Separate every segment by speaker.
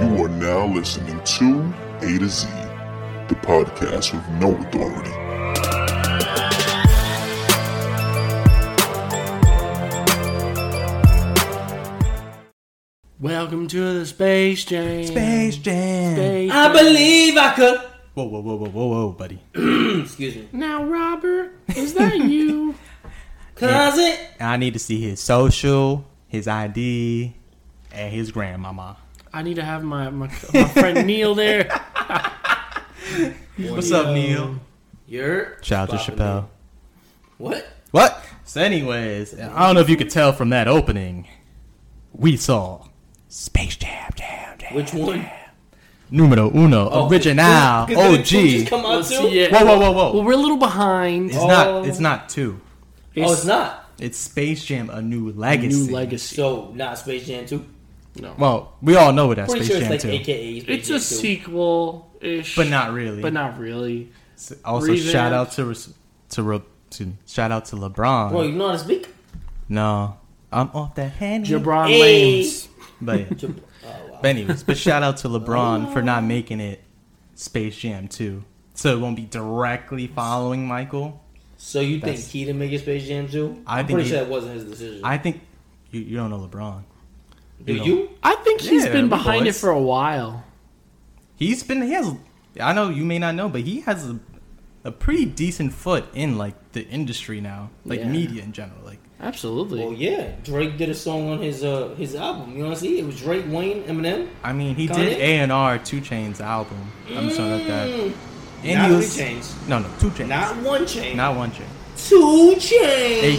Speaker 1: You are now listening to A to Z, the podcast with no authority.
Speaker 2: Welcome to the Space Jam.
Speaker 3: Space Jam.
Speaker 2: Space
Speaker 4: I
Speaker 2: Jam.
Speaker 4: believe I could.
Speaker 3: Whoa, whoa, whoa, whoa, whoa, whoa, buddy.
Speaker 4: Excuse me.
Speaker 2: Now, Robert, is that you?
Speaker 4: Cause it.
Speaker 3: I need to see his social, his ID, and his grandmama.
Speaker 2: I need to have my, my, my friend Neil there.
Speaker 3: What's up, Neil?
Speaker 4: You're.
Speaker 3: Shout out to
Speaker 4: bopping
Speaker 3: Chappelle.
Speaker 4: me. What?
Speaker 3: What? So, anyways, I don't know if you could tell from that opening, we saw Space Jam, Jam, Jam.
Speaker 4: Which one?
Speaker 3: Numero uno, original,
Speaker 4: Cause
Speaker 3: Oh,
Speaker 4: didn't two just
Speaker 3: OG.
Speaker 4: Come out
Speaker 2: Let's
Speaker 4: too?
Speaker 2: see it.
Speaker 3: Whoa, whoa, whoa, whoa!
Speaker 2: Well, we're a little behind.
Speaker 3: it's not. It's not two.
Speaker 4: Oh, it's not.
Speaker 3: It's Space Jam: A New Legacy.
Speaker 2: New legacy.
Speaker 4: So not Space Jam two.
Speaker 3: Well, we all know what that
Speaker 4: Pretty
Speaker 3: Space
Speaker 4: sure it's
Speaker 3: Jam
Speaker 4: like
Speaker 3: two,
Speaker 4: AKA. Space
Speaker 2: It's
Speaker 4: Jam
Speaker 2: a
Speaker 4: 2.
Speaker 2: sequel ish,
Speaker 3: but not really.
Speaker 2: But not really.
Speaker 3: Also,
Speaker 2: Revamp.
Speaker 3: shout out to Res- to, Re- to shout out to LeBron.
Speaker 4: Bro, you know how to speak?
Speaker 3: No, I'm off that hand.
Speaker 2: Jabron
Speaker 4: Hey.
Speaker 2: Lanes.
Speaker 3: But, yeah.
Speaker 4: Jab- oh, wow. Oh.
Speaker 3: but anyways, but shout out to LeBron for not making it Space Jam 2. So it won't be directly following Michael.
Speaker 4: So you think
Speaker 3: That's-
Speaker 4: he didn't make it Space Jam two?
Speaker 3: I
Speaker 4: I'm
Speaker 3: think
Speaker 4: pretty
Speaker 3: he-
Speaker 4: sure that wasn't his decision.
Speaker 3: I think you, you don't know LeBron.
Speaker 4: Do
Speaker 3: know.
Speaker 4: you?
Speaker 2: I think he's
Speaker 3: Yeah,
Speaker 2: been
Speaker 3: we
Speaker 2: behind
Speaker 3: boys.
Speaker 2: it for a while.
Speaker 3: He's been he has. I know you may not know, but he has a, a pretty decent foot in like the industry now, like
Speaker 2: Yeah.
Speaker 3: media in general. Like
Speaker 2: Absolutely.
Speaker 4: Well, yeah. Drake did a song on his uh his album. You know what I'm saying? It was Drake, Wayne, Eminem.
Speaker 3: I mean, he
Speaker 4: Kanye?
Speaker 3: did A and R Two Chains album. I'm sorry about that. And
Speaker 4: Mm. Not three chains.
Speaker 3: No, no, Two Chains.
Speaker 4: Not one chain.
Speaker 3: Not one chain.
Speaker 4: two chains.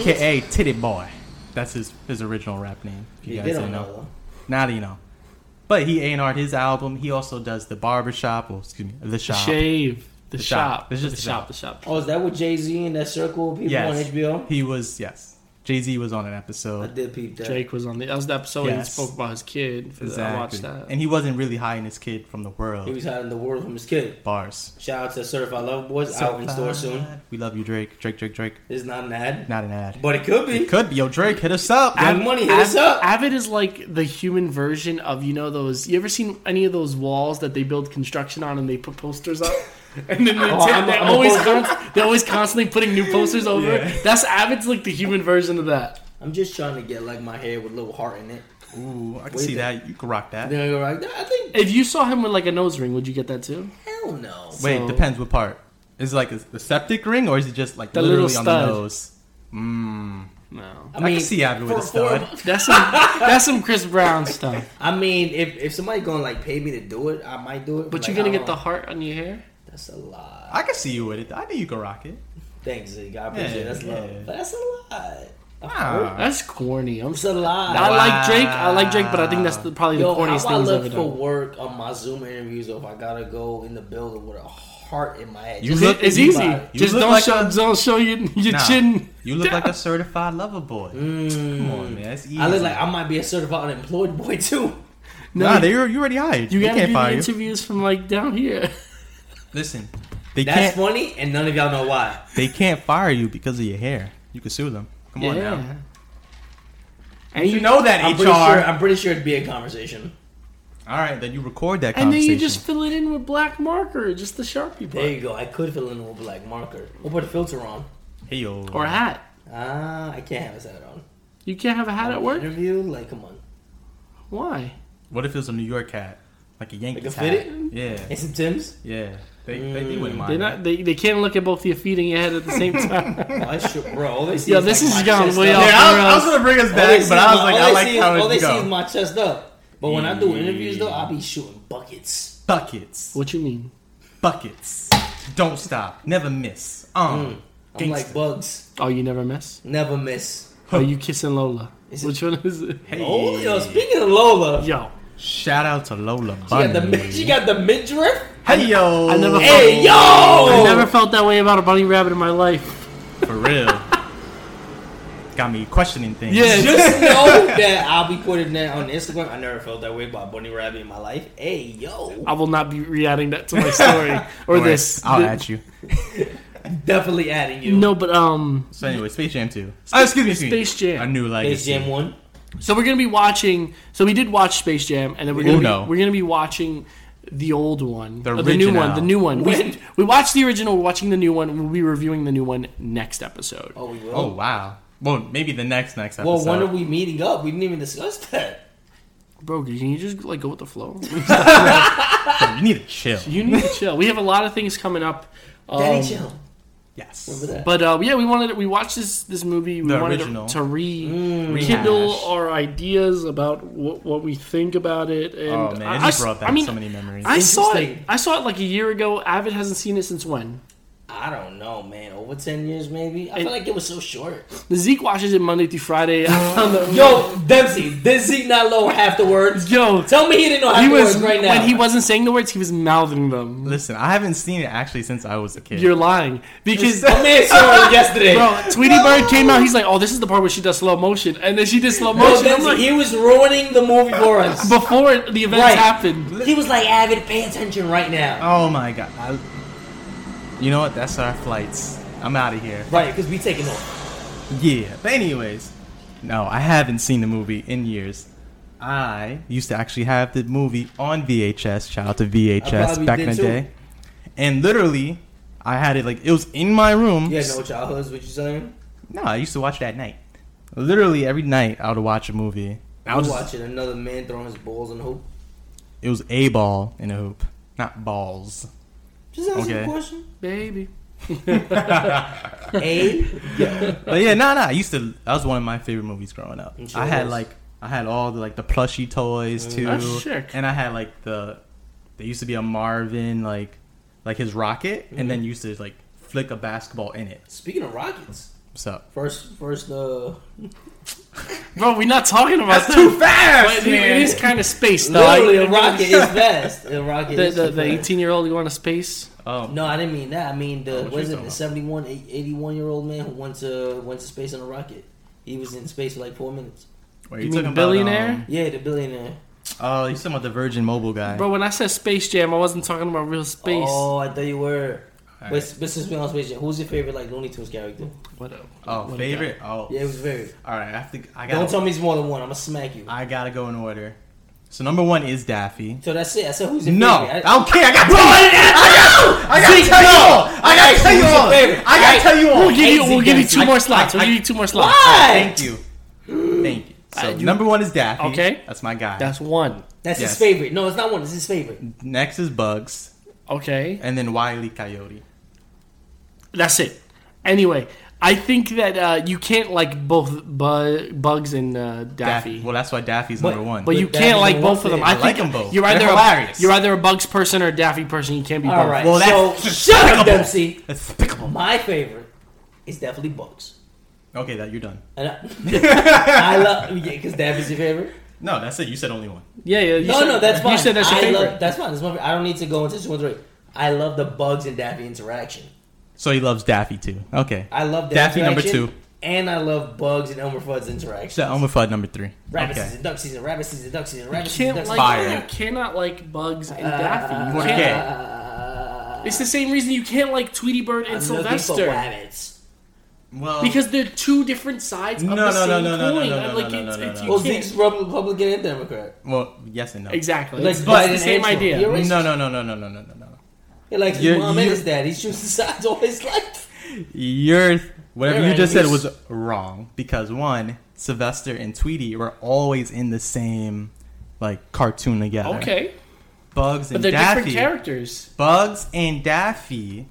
Speaker 3: AKA Titty Boy. That's his his original rap name. If you
Speaker 4: Yeah, they
Speaker 3: guys
Speaker 4: don't
Speaker 3: don't
Speaker 4: know.
Speaker 3: know. Now that you know. But he A and R'd his album. He also does the barbershop. Well, excuse me, the
Speaker 2: The
Speaker 3: shop.
Speaker 2: shave. The,
Speaker 3: The shop.
Speaker 2: shop.
Speaker 3: It's
Speaker 2: the
Speaker 3: just the
Speaker 2: shop.
Speaker 3: shop.
Speaker 2: The shop.
Speaker 4: Oh, is that with Jay Z in that circle of people
Speaker 3: Yes.
Speaker 4: on HBO?
Speaker 3: He was yes. Jay Z was on an
Speaker 4: I
Speaker 3: episode.
Speaker 4: did peep that.
Speaker 2: Drake was on the. That was the episode where he
Speaker 3: Yes.
Speaker 2: spoke about his kid. For the, I watched that.
Speaker 3: And he wasn't really hiding his kid from the
Speaker 4: He
Speaker 3: world.
Speaker 4: was out in the world from his kid.
Speaker 3: Bars.
Speaker 4: Shout out to Certified Lover Boys out in store soon.
Speaker 3: We love you, Drake. Drake, Drake, Drake.
Speaker 4: It's not an ad,
Speaker 3: Not an ad.
Speaker 4: but it could be.
Speaker 3: It could be. Yo, Drake, hit us up.
Speaker 4: Have
Speaker 3: yo.
Speaker 4: money, hit
Speaker 2: Av-
Speaker 4: us up.
Speaker 2: Avid is like the human version of you know those. You ever seen any of those walls that they build construction on and they put posters up? And then they
Speaker 4: Oh, I'm a-
Speaker 2: they're
Speaker 4: I'm a
Speaker 2: always
Speaker 4: poster.
Speaker 2: const- they're always constantly putting new posters over.
Speaker 3: Yeah.
Speaker 2: That's Avid's like the human version of that.
Speaker 4: I'm just trying to get like my hair with a little heart in it.
Speaker 3: Ooh, I can
Speaker 4: Wait
Speaker 3: see
Speaker 4: a-
Speaker 3: that. You can rock that.
Speaker 4: Then I go like, I think
Speaker 2: If you saw him with like a nose ring, would you get that too?
Speaker 4: hell no.
Speaker 3: Wait,
Speaker 2: So-
Speaker 3: depends what part. Is it like a, the septic ring, or is it just like
Speaker 2: The
Speaker 3: literally
Speaker 2: little
Speaker 3: on the
Speaker 2: stud.
Speaker 3: nose? Mm.
Speaker 2: No,
Speaker 3: I, can see Abby with a
Speaker 4: for- for-
Speaker 3: stud.
Speaker 2: that's some that's some Chris Brown stuff.
Speaker 4: I mean, if if somebody gonna like pay me to do it, I might do it.
Speaker 2: But
Speaker 4: like,
Speaker 2: you're gonna
Speaker 4: I
Speaker 2: get the
Speaker 4: don't-
Speaker 2: heart on your hair.
Speaker 4: That's a lot.
Speaker 3: I can see you with it. I think you can rock it.
Speaker 4: Thanks, Zig. I appreciate it.
Speaker 3: Yeah,
Speaker 4: That's
Speaker 3: yeah.
Speaker 4: love. But that's a lot.
Speaker 3: Ah.
Speaker 2: That's corny. I'm
Speaker 4: It's
Speaker 2: so.
Speaker 4: a lot.
Speaker 2: I like Drake. I like Drake, but I think that's the, probably the
Speaker 4: Yo, how
Speaker 2: corniest
Speaker 4: I
Speaker 2: thing he's ever
Speaker 4: look for
Speaker 2: done.
Speaker 4: work on my Zoom interviews if I gotta go in the building with a heart in my head?
Speaker 3: You
Speaker 4: Just-
Speaker 3: look-
Speaker 2: It's
Speaker 3: you
Speaker 2: easy.
Speaker 3: look- you
Speaker 2: Just
Speaker 3: look
Speaker 2: don't
Speaker 3: like
Speaker 2: show.
Speaker 3: a-
Speaker 2: don't show your your
Speaker 3: Nah,
Speaker 2: chin.
Speaker 3: You look like a certified lover boy. Come on, man. That's easy.
Speaker 4: Mm. I look like I might be a certified unemployed boy too.
Speaker 3: nah, they you already hired.
Speaker 2: You
Speaker 3: they
Speaker 2: gotta
Speaker 3: can't
Speaker 2: do the
Speaker 3: fire you.
Speaker 2: interviews from like down here.
Speaker 3: Listen, they
Speaker 4: That's
Speaker 3: can't.
Speaker 4: funny, and none of y'all know why.
Speaker 3: They can't fire you because of your hair. You can sue them. Come on now.
Speaker 2: And you,
Speaker 3: You know that
Speaker 4: I'm
Speaker 3: HR.
Speaker 4: pretty sure. I'm pretty sure it'd be a conversation.
Speaker 3: All right, then you record that
Speaker 2: and then
Speaker 3: conversation.
Speaker 2: you just fill it in with black marker, just the sharpie
Speaker 4: There
Speaker 2: part,
Speaker 4: you go. I could fill in with a black marker. We'll put a filter on.
Speaker 3: hey yo.
Speaker 2: or a hat.
Speaker 4: Ah, I can't have a set on.
Speaker 2: You can't have a hat at work.
Speaker 4: Interview, like, come on.
Speaker 2: Why?
Speaker 3: What if it was a New York hat, like a Yankees
Speaker 4: Like a
Speaker 3: hat?
Speaker 4: fitted? Mm,
Speaker 3: Yeah,
Speaker 4: And some Tim's.
Speaker 3: yeah. They, they, they wouldn't mind.
Speaker 2: They not. They, they can't look at both your feet and your head at the same time.
Speaker 4: Oh, that's true, bro. All they see
Speaker 2: Yo,
Speaker 4: is,
Speaker 2: this
Speaker 4: like,
Speaker 2: has
Speaker 4: my
Speaker 2: gone
Speaker 4: chest
Speaker 2: way
Speaker 4: up.
Speaker 2: off.
Speaker 3: Yeah, I was, I was gonna bring us
Speaker 4: All they
Speaker 3: back,
Speaker 4: see
Speaker 3: but
Speaker 4: is
Speaker 3: I was
Speaker 4: my-
Speaker 3: like,
Speaker 4: all
Speaker 3: I
Speaker 4: they
Speaker 3: like
Speaker 4: see is-
Speaker 3: how
Speaker 4: all they
Speaker 3: it
Speaker 4: see is
Speaker 3: go. Mm.
Speaker 4: my chest up. But when I do interviews, though, I be shooting buckets.
Speaker 3: Buckets,
Speaker 2: what you mean?
Speaker 3: buckets, don't stop, never miss. Um,
Speaker 4: Mm. I'm like bugs,
Speaker 2: Oh, you never miss.
Speaker 4: never miss.
Speaker 2: Are you kissing Lola?
Speaker 4: Is it-
Speaker 2: Which one is it?
Speaker 3: Hey,
Speaker 4: Oh, yo, speaking of Lola, she
Speaker 2: Yo,
Speaker 3: shout out to Lola
Speaker 4: got the,
Speaker 3: Bunny.
Speaker 4: mid- she got the midriff.
Speaker 3: hey yo,
Speaker 2: I never,
Speaker 4: Hey, yo!
Speaker 3: Oh.
Speaker 2: I never felt that way about a bunny rabbit in my life.
Speaker 3: for real. got me questioning things.
Speaker 2: Yeah.
Speaker 4: Just know that I'll be putting that on Instagram. I never felt that way about Bunny Rabbit in my life. Hey, yo.
Speaker 2: I will not be re-adding that to my story or
Speaker 3: Don't worry,
Speaker 2: this.
Speaker 3: I'll
Speaker 2: The-
Speaker 3: at you.
Speaker 4: Definitely adding you.
Speaker 2: No, but um,
Speaker 3: So anyway, Space Jam 2. Oh, excuse me, excuse me.
Speaker 2: Space Jam.
Speaker 3: A new legacy.
Speaker 4: Space Jam 1.
Speaker 2: So we're gonna be watching. So we did watch Space Jam, and then we're gonna
Speaker 3: Uno.
Speaker 2: be, we're gonna be watching the old one,
Speaker 3: The
Speaker 2: or the new
Speaker 3: original.
Speaker 2: one, the new one. We,
Speaker 4: When-
Speaker 2: we watched the original. We're watching the new one. We'll be reviewing the new one next episode.
Speaker 4: Oh, we will.
Speaker 3: Oh wow. Well, maybe the next next episode.
Speaker 4: well, when are we meeting up? We didn't even discuss that.
Speaker 2: Bro, can you just like go with the flow?
Speaker 3: you need to chill.
Speaker 2: you need to chill. We have a lot of things coming up. Um,
Speaker 4: Daddy chill.
Speaker 3: Yes.
Speaker 4: Remember that?
Speaker 2: But uh, yeah, we wanted we watched this this movie. We
Speaker 3: The
Speaker 2: wanted
Speaker 3: original.
Speaker 2: to, to
Speaker 4: Mm.
Speaker 2: rekindle
Speaker 3: Rehash.
Speaker 2: our ideas about what, what we think about it. And
Speaker 3: Oh man,
Speaker 2: I,
Speaker 3: it
Speaker 2: I
Speaker 3: just
Speaker 2: s-
Speaker 3: brought back
Speaker 2: I mean,
Speaker 3: so many memories.
Speaker 2: I saw it.
Speaker 4: Interesting.
Speaker 2: I saw it like a year ago. Avid hasn't seen it since when?
Speaker 4: I don't know, man. Over 10 years, maybe? I feel like it was so short.
Speaker 2: Zeke watches it Monday through Friday. I found the-
Speaker 4: Yo, Dempsey, did Zeke not know half the words?
Speaker 2: yo,
Speaker 4: Tell me he didn't know half
Speaker 2: he
Speaker 4: the
Speaker 2: was
Speaker 4: words right now.
Speaker 2: when he wasn't saying the words, he was mouthing them.
Speaker 3: Listen, I haven't seen it actually since I was a kid.
Speaker 2: You're lying because.
Speaker 4: My man saw it yesterday.
Speaker 2: Bro, Tweety Bird came out. He's like, "Oh, this is the part where she does slow motion," and then she did slow
Speaker 4: Yo,
Speaker 2: motion. I'm
Speaker 4: Dempsey,
Speaker 2: like,
Speaker 4: he was ruining the movie for us.
Speaker 2: before the events
Speaker 4: Right.
Speaker 2: happened,
Speaker 4: He was like, Avid, pay attention right now.
Speaker 3: oh my god. I, you know what? That's our flights. I'm out of here.
Speaker 4: Right, because we taking off.
Speaker 3: Yeah. But anyways, no, I haven't seen the movie in years. I used to actually have the movie on VHS. Shout out to VHS
Speaker 4: probably
Speaker 3: back in
Speaker 4: did
Speaker 3: the
Speaker 4: too.
Speaker 3: day. And literally, I had it like it was in my room.
Speaker 4: Yeah, no childhoods, what you saying?
Speaker 3: No, I used to watch it at night. Literally every night, I would watch a movie. I
Speaker 4: I'm
Speaker 3: was
Speaker 4: watching another man throwing his balls in the hoop.
Speaker 3: It was a ball in a hoop, not balls.
Speaker 4: Just answer
Speaker 3: Okay.
Speaker 4: the question.
Speaker 2: baby.
Speaker 4: A.
Speaker 3: But yeah, nah, nah. I used to. That was one of my favorite movies growing up.
Speaker 4: sure
Speaker 3: I had
Speaker 4: was.
Speaker 3: like I had all the like the plushy toys too,
Speaker 2: Mm. That's sick.
Speaker 3: and I had like the there used to be a Marvin like like his rocket, and
Speaker 2: Mm-hmm.
Speaker 3: then used to like flick a basketball in it.
Speaker 4: Speaking of rockets,
Speaker 3: What's up?
Speaker 4: first, first, uh,
Speaker 2: Bro, we're not talking about that.
Speaker 3: fast.
Speaker 2: But it- it is kind of space, though.
Speaker 4: literally
Speaker 2: I-
Speaker 4: a rocket is fast. A rocket
Speaker 2: The
Speaker 4: is
Speaker 2: the- the
Speaker 4: fast.
Speaker 2: eighteen year old going to space.
Speaker 3: Oh,
Speaker 4: No, I didn't mean that. I mean
Speaker 3: what
Speaker 4: the
Speaker 3: you
Speaker 4: was it
Speaker 3: talking
Speaker 4: the
Speaker 3: about?
Speaker 4: 71, 81 year old man who went to went to space in a rocket. He was in space for like four minutes.
Speaker 3: Wait,
Speaker 2: You
Speaker 3: you
Speaker 2: mean
Speaker 3: talking
Speaker 2: billionaire?
Speaker 3: About,
Speaker 4: Yeah, the billionaire.
Speaker 3: um, oh, you talking about the Virgin Mobile guy?
Speaker 2: Bro, when I said Space Jam, I wasn't talking about real space.
Speaker 4: Oh, I thought you were.
Speaker 3: All
Speaker 4: But, but since we on space, Jam, who's your favorite like Looney Tunes character?
Speaker 2: What a-
Speaker 3: oh,
Speaker 2: what a
Speaker 3: favorite. Oh,
Speaker 4: Yeah, it was very.
Speaker 3: all right. I have to. I
Speaker 4: Don't
Speaker 3: got.
Speaker 4: tell me it's more than one. I'm gonna smack you.
Speaker 3: I gotta go in order. So number one is Daffy.
Speaker 4: So that's it. I said who's your
Speaker 3: No, I
Speaker 4: favorite?
Speaker 3: don't care. I got to tell you. I got to tell you all. I got to tell you all. I got to tell you all.
Speaker 2: We'll give you,
Speaker 4: Exit
Speaker 2: we'll give you
Speaker 4: guys.
Speaker 2: two
Speaker 3: I-
Speaker 2: more slots.
Speaker 3: I-
Speaker 2: We'll
Speaker 3: I-
Speaker 2: give you two more slots.
Speaker 4: Why?
Speaker 3: Thank you. Thank you. So
Speaker 2: Uh, you-
Speaker 3: number one is Daffy.
Speaker 2: Okay.
Speaker 3: that's my guy.
Speaker 2: That's one.
Speaker 4: That's
Speaker 3: Yes.
Speaker 4: his favorite. No, it's not one. It's his favorite.
Speaker 3: Next is Bugs,
Speaker 2: Okay,
Speaker 3: and then Wiley Coyote.
Speaker 2: that's it. Anyway, I think that uh, you can't like both bu- Bugs and uh, Daffy.
Speaker 3: Well, that's why Daffy's
Speaker 4: But-
Speaker 3: number one.
Speaker 2: but you
Speaker 4: But
Speaker 2: can't
Speaker 4: Daffy's
Speaker 2: like
Speaker 4: the
Speaker 2: both of them.
Speaker 4: one thing.
Speaker 2: I
Speaker 4: I
Speaker 2: think
Speaker 3: like 'em both.
Speaker 2: You're either
Speaker 3: They're
Speaker 2: a,
Speaker 3: hilarious.
Speaker 2: You're either a Bugs person or a Daffy person. You can't be
Speaker 4: All
Speaker 2: both.
Speaker 4: right.
Speaker 3: well, that's
Speaker 4: so shut
Speaker 3: despicable.
Speaker 4: up, Dempsey.
Speaker 3: that's despicable.
Speaker 4: My favorite is definitely Bugs.
Speaker 3: Okay, that you're done.
Speaker 4: And I, I love yeah, because Daffy's your favorite.
Speaker 3: No, that's it. You said only one.
Speaker 2: Yeah, yeah. you
Speaker 4: No,
Speaker 2: said-
Speaker 4: no, that's fine.
Speaker 2: You said that's your
Speaker 4: I
Speaker 2: favorite.
Speaker 4: Love, that's fine. That's my favorite. I don't need to go into two and three. I love the Bugs and Daffy interaction.
Speaker 3: So he loves Daffy too. Okay.
Speaker 4: I love the
Speaker 3: Daffy number
Speaker 4: interaction,
Speaker 3: two.
Speaker 4: and I love Bugs and Elmer Fudd's interaction.
Speaker 3: So Elmer Fudd number three.
Speaker 4: rabbit
Speaker 3: okay.
Speaker 4: season, duck season, rabbit season, duck season, rabbit season,
Speaker 2: can't
Speaker 4: duck
Speaker 2: like
Speaker 4: season.
Speaker 3: Fire. Uh,
Speaker 2: you cannot like Bugs and Daffy. You
Speaker 3: What
Speaker 2: can't-
Speaker 3: okay.
Speaker 2: It's the same reason you can't like Tweety Bird and
Speaker 4: I'm looking for
Speaker 2: Sylvester
Speaker 4: rabbits.
Speaker 3: Well,
Speaker 2: because they're two different sides of
Speaker 3: No,
Speaker 2: the
Speaker 3: no, no,
Speaker 2: same
Speaker 3: no,
Speaker 2: coin.
Speaker 3: no, no, no,
Speaker 2: I'm
Speaker 3: no,
Speaker 2: like,
Speaker 3: no,
Speaker 2: it's-
Speaker 3: no,
Speaker 2: it's-
Speaker 3: no,
Speaker 2: you
Speaker 4: Well,
Speaker 2: can't-
Speaker 4: Zeke's Republican and Democrat.
Speaker 3: well, yes and no.
Speaker 2: Exactly.
Speaker 4: Like,
Speaker 2: it's
Speaker 4: but-
Speaker 2: it's the same
Speaker 4: Angela,
Speaker 2: idea.
Speaker 4: you're-
Speaker 3: No, no, no, no, no, no, no, no, no.
Speaker 4: He likes his
Speaker 3: You're-
Speaker 4: mom and
Speaker 3: you-
Speaker 4: his dad. He chooses sides all his life.
Speaker 3: Your whatever
Speaker 4: They're
Speaker 3: you just said
Speaker 4: enemies.
Speaker 3: was wrong because one, Sylvester and Tweety were always in the same like cartoon together.
Speaker 2: okay,
Speaker 3: Bugs
Speaker 2: but
Speaker 3: and
Speaker 2: they're
Speaker 3: Daffy.
Speaker 2: different characters.
Speaker 3: Bugs and Daffy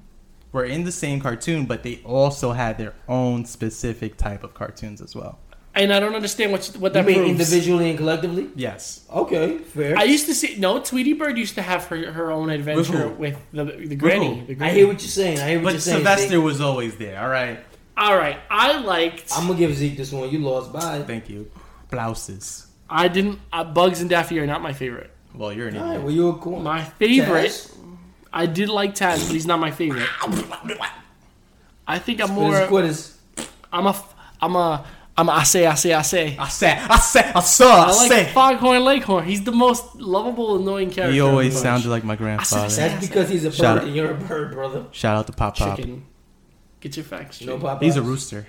Speaker 3: were in the same cartoon, but they also had their own specific type of cartoons as well.
Speaker 2: And I don't understand what what
Speaker 4: I
Speaker 2: that
Speaker 4: mean,
Speaker 2: proves.
Speaker 4: individually and collectively.
Speaker 3: Yes.
Speaker 4: Okay, fair.
Speaker 2: I
Speaker 4: I,
Speaker 2: used to see no Tweety Bird used to have her, her own adventure
Speaker 3: who?
Speaker 2: with, the the granny.
Speaker 3: who?
Speaker 2: The granny.
Speaker 4: hear what you're saying. I hear what
Speaker 3: But
Speaker 4: you're saying.
Speaker 3: Sylvester
Speaker 4: Zeke.
Speaker 3: was always there, all right?
Speaker 2: All right, I liked.
Speaker 4: I'm gonna give Zeke this one. You lost by.
Speaker 3: Thank you. Blouses.
Speaker 2: I didn't. Uh, Bugs and Daffy are not my favorite.
Speaker 3: Well, you're an
Speaker 4: All right,
Speaker 3: idiot.
Speaker 4: well you a corn.
Speaker 2: My favorite.
Speaker 4: Taz?
Speaker 2: I did like Taz, but he's not my favorite. I think I'm
Speaker 4: Quitters,
Speaker 2: more.
Speaker 4: quitters.
Speaker 2: I'm a. f- I'm a. I'm a. I say. I say. I say.
Speaker 3: I said, I said, I saw, I,
Speaker 2: I like
Speaker 3: said.
Speaker 2: Foghorn Leghorn. He's the most lovable, annoying character.
Speaker 3: He
Speaker 2: of the
Speaker 3: always
Speaker 2: bunch.
Speaker 3: sounded like my
Speaker 2: said-
Speaker 3: grandfather.
Speaker 4: That's because he's a
Speaker 3: Shout
Speaker 4: bird
Speaker 3: out.
Speaker 4: and you're a bird, brother.
Speaker 3: Shout out to Pop Pop.
Speaker 2: chicken. Get your facts straight.
Speaker 4: No pop.
Speaker 3: He's a rooster.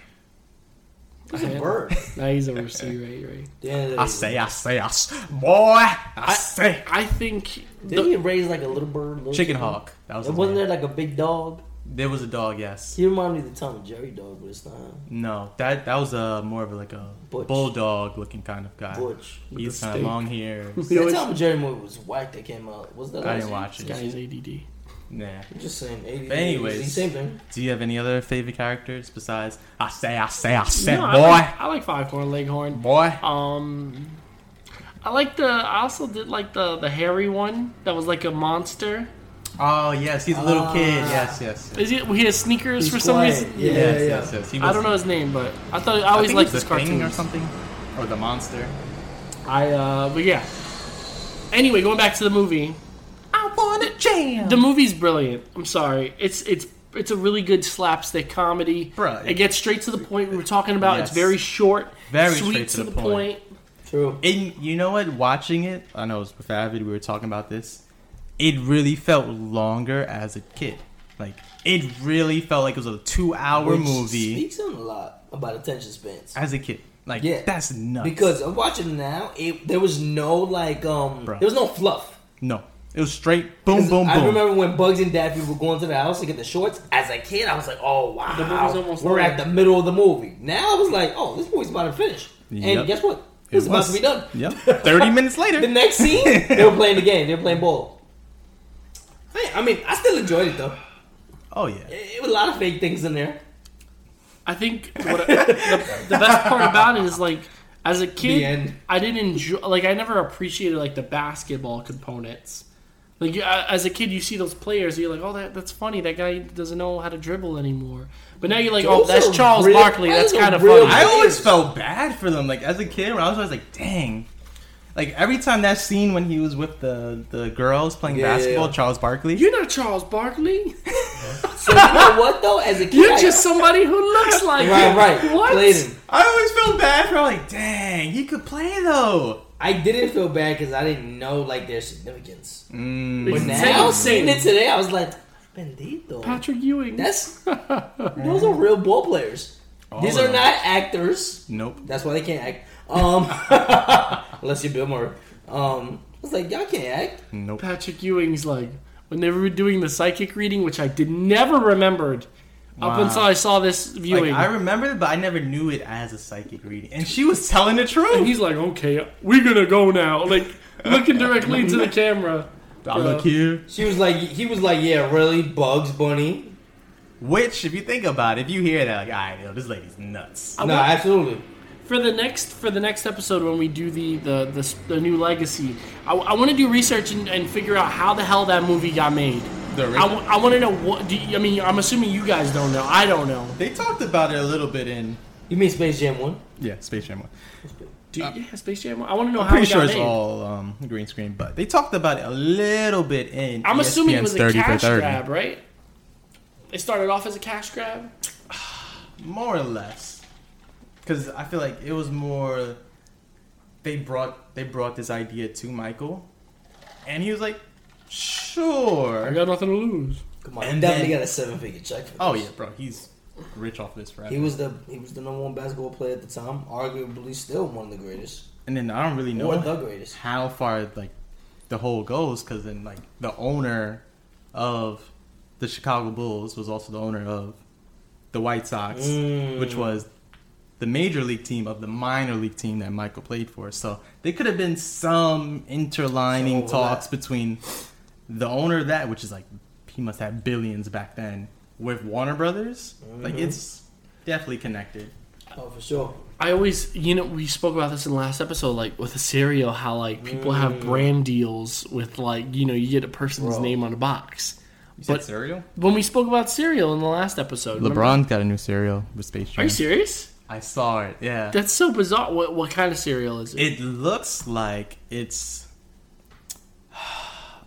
Speaker 4: He's a bird.
Speaker 2: Nah, he's a rooster. You're right. You're right.
Speaker 4: At the end of the day,
Speaker 3: I say, I say, I say. Boy, I
Speaker 2: I-
Speaker 3: say.
Speaker 2: I think.
Speaker 4: Didn't he raise like a little bird? Little
Speaker 3: Chicken Hawk. That was
Speaker 4: And
Speaker 3: his
Speaker 4: wasn't
Speaker 3: name.
Speaker 4: there like a big dog?
Speaker 3: There was a dog, yes.
Speaker 4: He reminded me of the Tom and Jerry dog, but it's not him.
Speaker 3: No, that that was a more of like a
Speaker 4: Butch.
Speaker 3: bulldog looking kind of guy.
Speaker 4: Butch.
Speaker 3: He was
Speaker 2: the
Speaker 3: kind of
Speaker 2: steak.
Speaker 3: long hair.
Speaker 2: You know,
Speaker 4: That
Speaker 2: it's-
Speaker 4: Tom and Jerry movie was whack that came out. Was
Speaker 3: I
Speaker 4: that? last
Speaker 3: didn't
Speaker 4: year?
Speaker 3: watch
Speaker 2: This guy is
Speaker 3: it.
Speaker 2: ADD.
Speaker 3: Nah.
Speaker 4: I'm just saying. 80,
Speaker 3: But anyways.
Speaker 4: same thing.
Speaker 3: Do you have any other favorite characters besides I say, I say, I say,
Speaker 2: No,
Speaker 3: boy,
Speaker 2: I like, I like Foghorn Leghorn.
Speaker 3: boy?
Speaker 2: Um, I like the. I also did like the the hairy one that was like a monster.
Speaker 3: Oh yes, he's a little
Speaker 4: Ah.
Speaker 3: kid. Yes, yes, yes.
Speaker 2: Is it? He has sneakers for some
Speaker 4: quiet.
Speaker 2: reason.
Speaker 4: Yeah,
Speaker 3: yes,
Speaker 4: yeah.
Speaker 3: yes, yes. He
Speaker 2: I don't know
Speaker 3: was-
Speaker 2: his name, but I thought I always
Speaker 3: think
Speaker 2: liked
Speaker 3: he was
Speaker 2: his
Speaker 3: the Thing
Speaker 2: cartoons.
Speaker 3: or something, or the monster.
Speaker 2: I uh, but yeah. Anyway, going back to the movie.
Speaker 3: I wanna jam.
Speaker 2: The movie's brilliant. I'm sorry. It's it's it's a really good slapstick comedy.
Speaker 3: Bruh,
Speaker 2: it gets straight to the point we were talking about. It's
Speaker 3: Yes.
Speaker 2: very short,
Speaker 3: Very
Speaker 2: sweet
Speaker 3: straight to the
Speaker 2: point.
Speaker 3: point.
Speaker 4: True.
Speaker 3: and you know what? Watching it, I know it was with Avid. We were talking about this. It really felt longer as a kid. Like it really felt like it was a two-hour
Speaker 4: Which
Speaker 3: movie
Speaker 4: speaks on a lot about attention spans.
Speaker 3: as a kid. Like
Speaker 4: Yeah.
Speaker 3: that's nuts.
Speaker 4: Because I'm watching now, it, there was no like um,
Speaker 3: Bruh.
Speaker 4: there was no fluff.
Speaker 3: no, it was straight boom, boom, boom.
Speaker 4: I remember when Bugs and Daffy were going to the house to get the shorts. As a kid, I was like, "Oh wow,
Speaker 2: The movie's almost
Speaker 4: we're
Speaker 2: over.
Speaker 4: at the middle of the movie." Now I was like, "Oh, this movie's about to finish,"
Speaker 3: Yep.
Speaker 4: and guess what?
Speaker 3: It
Speaker 4: It's about
Speaker 3: was.
Speaker 4: to be done.
Speaker 3: Yep. Thirty minutes later.
Speaker 4: The next scene, they were playing the game. They were playing ball. Hey, I mean, I still enjoyed it though.
Speaker 3: Oh yeah.
Speaker 4: It, it was a lot of fake things in there.
Speaker 2: I think what the, the best part about it is like as a
Speaker 4: The end.
Speaker 2: kid, I didn't enjoy like I never appreciated like the basketball components. Like you- a- as a kid, you see those players, you're like, oh, that, that's funny. That guy doesn't know how to dribble anymore. But now you're like, oh,
Speaker 4: Those
Speaker 2: that's
Speaker 4: are
Speaker 2: Charles
Speaker 4: real-
Speaker 2: Barkley.
Speaker 4: those
Speaker 2: That's
Speaker 4: are
Speaker 2: kind of
Speaker 4: real-
Speaker 2: funny.
Speaker 3: I always
Speaker 4: Players.
Speaker 3: felt bad for them. Like as a kid, when I was, I was like, dang. Like every time that scene when he was with the the girls playing
Speaker 4: Yeah, yeah,
Speaker 3: basketball,
Speaker 4: yeah.
Speaker 3: Charles Barkley.
Speaker 2: you're not Charles Barkley.
Speaker 4: So you
Speaker 3: Ah!
Speaker 4: know what though? As a kid,
Speaker 2: You're
Speaker 4: I-
Speaker 2: just somebody who looks like
Speaker 4: right,
Speaker 2: him.
Speaker 4: right.
Speaker 2: What?
Speaker 4: Bladen.
Speaker 3: I always felt bad for. Like, dang, he could play though.
Speaker 4: I didn't feel bad because I didn't know like their significance. But
Speaker 3: Mm-hmm.
Speaker 2: It's
Speaker 4: now, seeing
Speaker 2: insane.
Speaker 4: it today, I was like, "Bendito."
Speaker 2: Patrick Ewing.
Speaker 4: That's those are real ball players. These
Speaker 3: Mm-hmm. of
Speaker 4: are
Speaker 3: them.
Speaker 4: not actors.
Speaker 3: Nope.
Speaker 4: That's why they can't act. Um, unless you're Bill Murray. Um, I was like, y'all can't act.
Speaker 3: Nope.
Speaker 2: Patrick Ewing's like when they were doing the psychic reading, which I did never remembered up
Speaker 3: Wow.
Speaker 2: until I saw this
Speaker 3: Like
Speaker 2: viewing.
Speaker 3: I remember it, but I never knew it as a psychic reading. And she was telling the
Speaker 2: and
Speaker 3: truth.
Speaker 2: he's like, "Okay, we're gonna go now." Like looking directly into the camera.
Speaker 3: I look here.
Speaker 4: She was like, he was like, yeah, really, Bugs Bunny.
Speaker 3: Which, if you think about it, if you hear that, like, all right, yo, this lady's nuts.
Speaker 4: No, absolutely.
Speaker 2: For the next for the next episode when we do the the the, s- the new legacy, I, want to do research and, and figure out how the hell that movie got made.
Speaker 3: The
Speaker 2: I want to know what. Do you, I mean, I'm assuming you guys don't know. I don't know.
Speaker 3: They talked about it a little bit in
Speaker 4: You mean Space Jam One?
Speaker 3: yeah, Space Jam. One.
Speaker 2: Do you, yeah, Space Jam. I want to know
Speaker 3: Uh, I'm
Speaker 2: how
Speaker 3: pretty
Speaker 2: it got
Speaker 3: sure it's
Speaker 2: made.
Speaker 3: all um, green screen, but they talked about it a little bit in. E
Speaker 2: I'm assuming it
Speaker 3: ESPN's
Speaker 2: was a cash grab, right? It started off as a cash grab.
Speaker 3: more or less, because I feel like it was more. They brought they brought this idea to Michael, and he was like,
Speaker 2: I
Speaker 3: "Sure."
Speaker 2: got nothing to lose.
Speaker 4: Come on,
Speaker 3: And
Speaker 4: definitely
Speaker 3: then-
Speaker 4: got a seven-figure check. For this.
Speaker 3: Oh yeah, bro, he's rich off this forever.
Speaker 4: He was the he was the number one basketball player at the time, arguably still one of the greatest.
Speaker 3: and then I don't really know
Speaker 4: Or the greatest.
Speaker 3: how far like the whole goes because then like the owner of the Chicago Bulls was also the owner of the White Sox,
Speaker 2: Mm.
Speaker 3: which was the major league team of the minor league team that Michael played for. So there could have been some interlining
Speaker 4: Some overlap.
Speaker 3: talks between the owner of that, which is like he must have billions back then, with Warner Brothers. Like
Speaker 2: Mm-hmm.
Speaker 3: it's definitely connected.
Speaker 4: Oh, for sure.
Speaker 2: I always, you know, we spoke about this in the last episode, like with the cereal, Mm. how like people have brand deals with like, you know, you get a person's name on a box.
Speaker 3: You said
Speaker 2: But-
Speaker 3: cereal?
Speaker 2: When we spoke about cereal in the last episode, remember?
Speaker 3: LeBron's got a new cereal with Space
Speaker 2: Are
Speaker 3: Jam.
Speaker 2: you serious?
Speaker 3: I saw it. Yeah.
Speaker 2: That's so bizarre. What what kind of cereal is it?
Speaker 3: It looks like it's.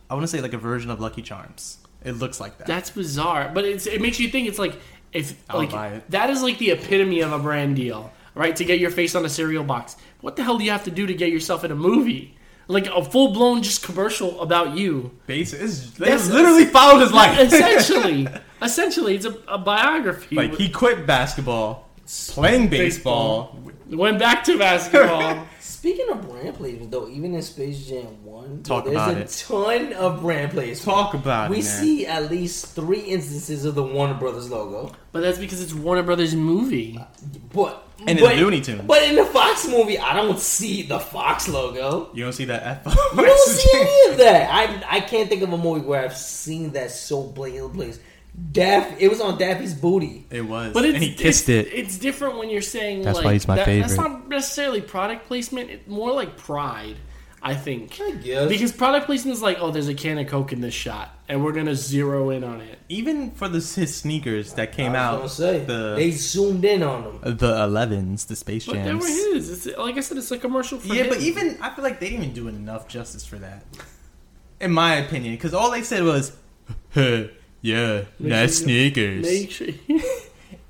Speaker 3: I want to say like a version of Lucky Charms. It looks like that.
Speaker 2: That's bizarre, but it's it makes you think it's like if
Speaker 3: I'll
Speaker 2: like
Speaker 3: buy it.
Speaker 2: that is like the epitome of a brand deal, right? To get your face on a cereal box, what the hell do you have to do to get yourself in a movie? Like a full blown just commercial about you,
Speaker 3: Base is they
Speaker 2: That's-
Speaker 3: literally followed his life.
Speaker 2: essentially. essentially, it's a, a biography.
Speaker 3: like he quit basketball, playing baseball.
Speaker 2: went back to basketball.
Speaker 4: Speaking of brand placement, though, even in Space Jam One, dude,
Speaker 3: Talk
Speaker 4: there's
Speaker 3: about
Speaker 4: a
Speaker 3: it.
Speaker 4: ton of brand placement.
Speaker 3: Talk about
Speaker 4: We
Speaker 3: it. man.
Speaker 4: see at least three instances of the Warner Brothers logo,
Speaker 2: but that's because it's Warner Brothers movie.
Speaker 4: but
Speaker 3: And in
Speaker 4: but,
Speaker 3: Looney Tunes.
Speaker 4: But in the Fox movie, I don't see the Fox logo.
Speaker 3: You don't see that F.
Speaker 4: I don't see any of that. I I can't think of a movie where I've seen that so blatantly placed. Daff, it was on Daffy's booty.
Speaker 3: It was.
Speaker 2: But it's,
Speaker 3: and he kissed
Speaker 2: it's,
Speaker 3: it.
Speaker 2: It's different when you're saying
Speaker 3: That's
Speaker 2: like,
Speaker 3: why he's my
Speaker 2: that- That's
Speaker 3: favorite.
Speaker 2: not necessarily product placement. It's more like pride, I think.
Speaker 4: I guess.
Speaker 2: because product placement is like, oh, there's a can of Coke in this shot, and we're gonna zero in on it.
Speaker 3: Even for the his sneakers that came
Speaker 4: I
Speaker 3: out,
Speaker 4: was gonna say they
Speaker 3: the
Speaker 4: zoomed in on them.
Speaker 3: the Elevens, the Space
Speaker 2: But they were
Speaker 3: Jams.
Speaker 2: his. It's, like I said, it's a commercial for
Speaker 3: Yeah,
Speaker 2: him.
Speaker 3: but even I feel like they didn't even do enough justice for that, in my opinion. Because all they said was, "Huh, "Yeah, nice
Speaker 2: sure
Speaker 3: sneakers."
Speaker 2: Make sure.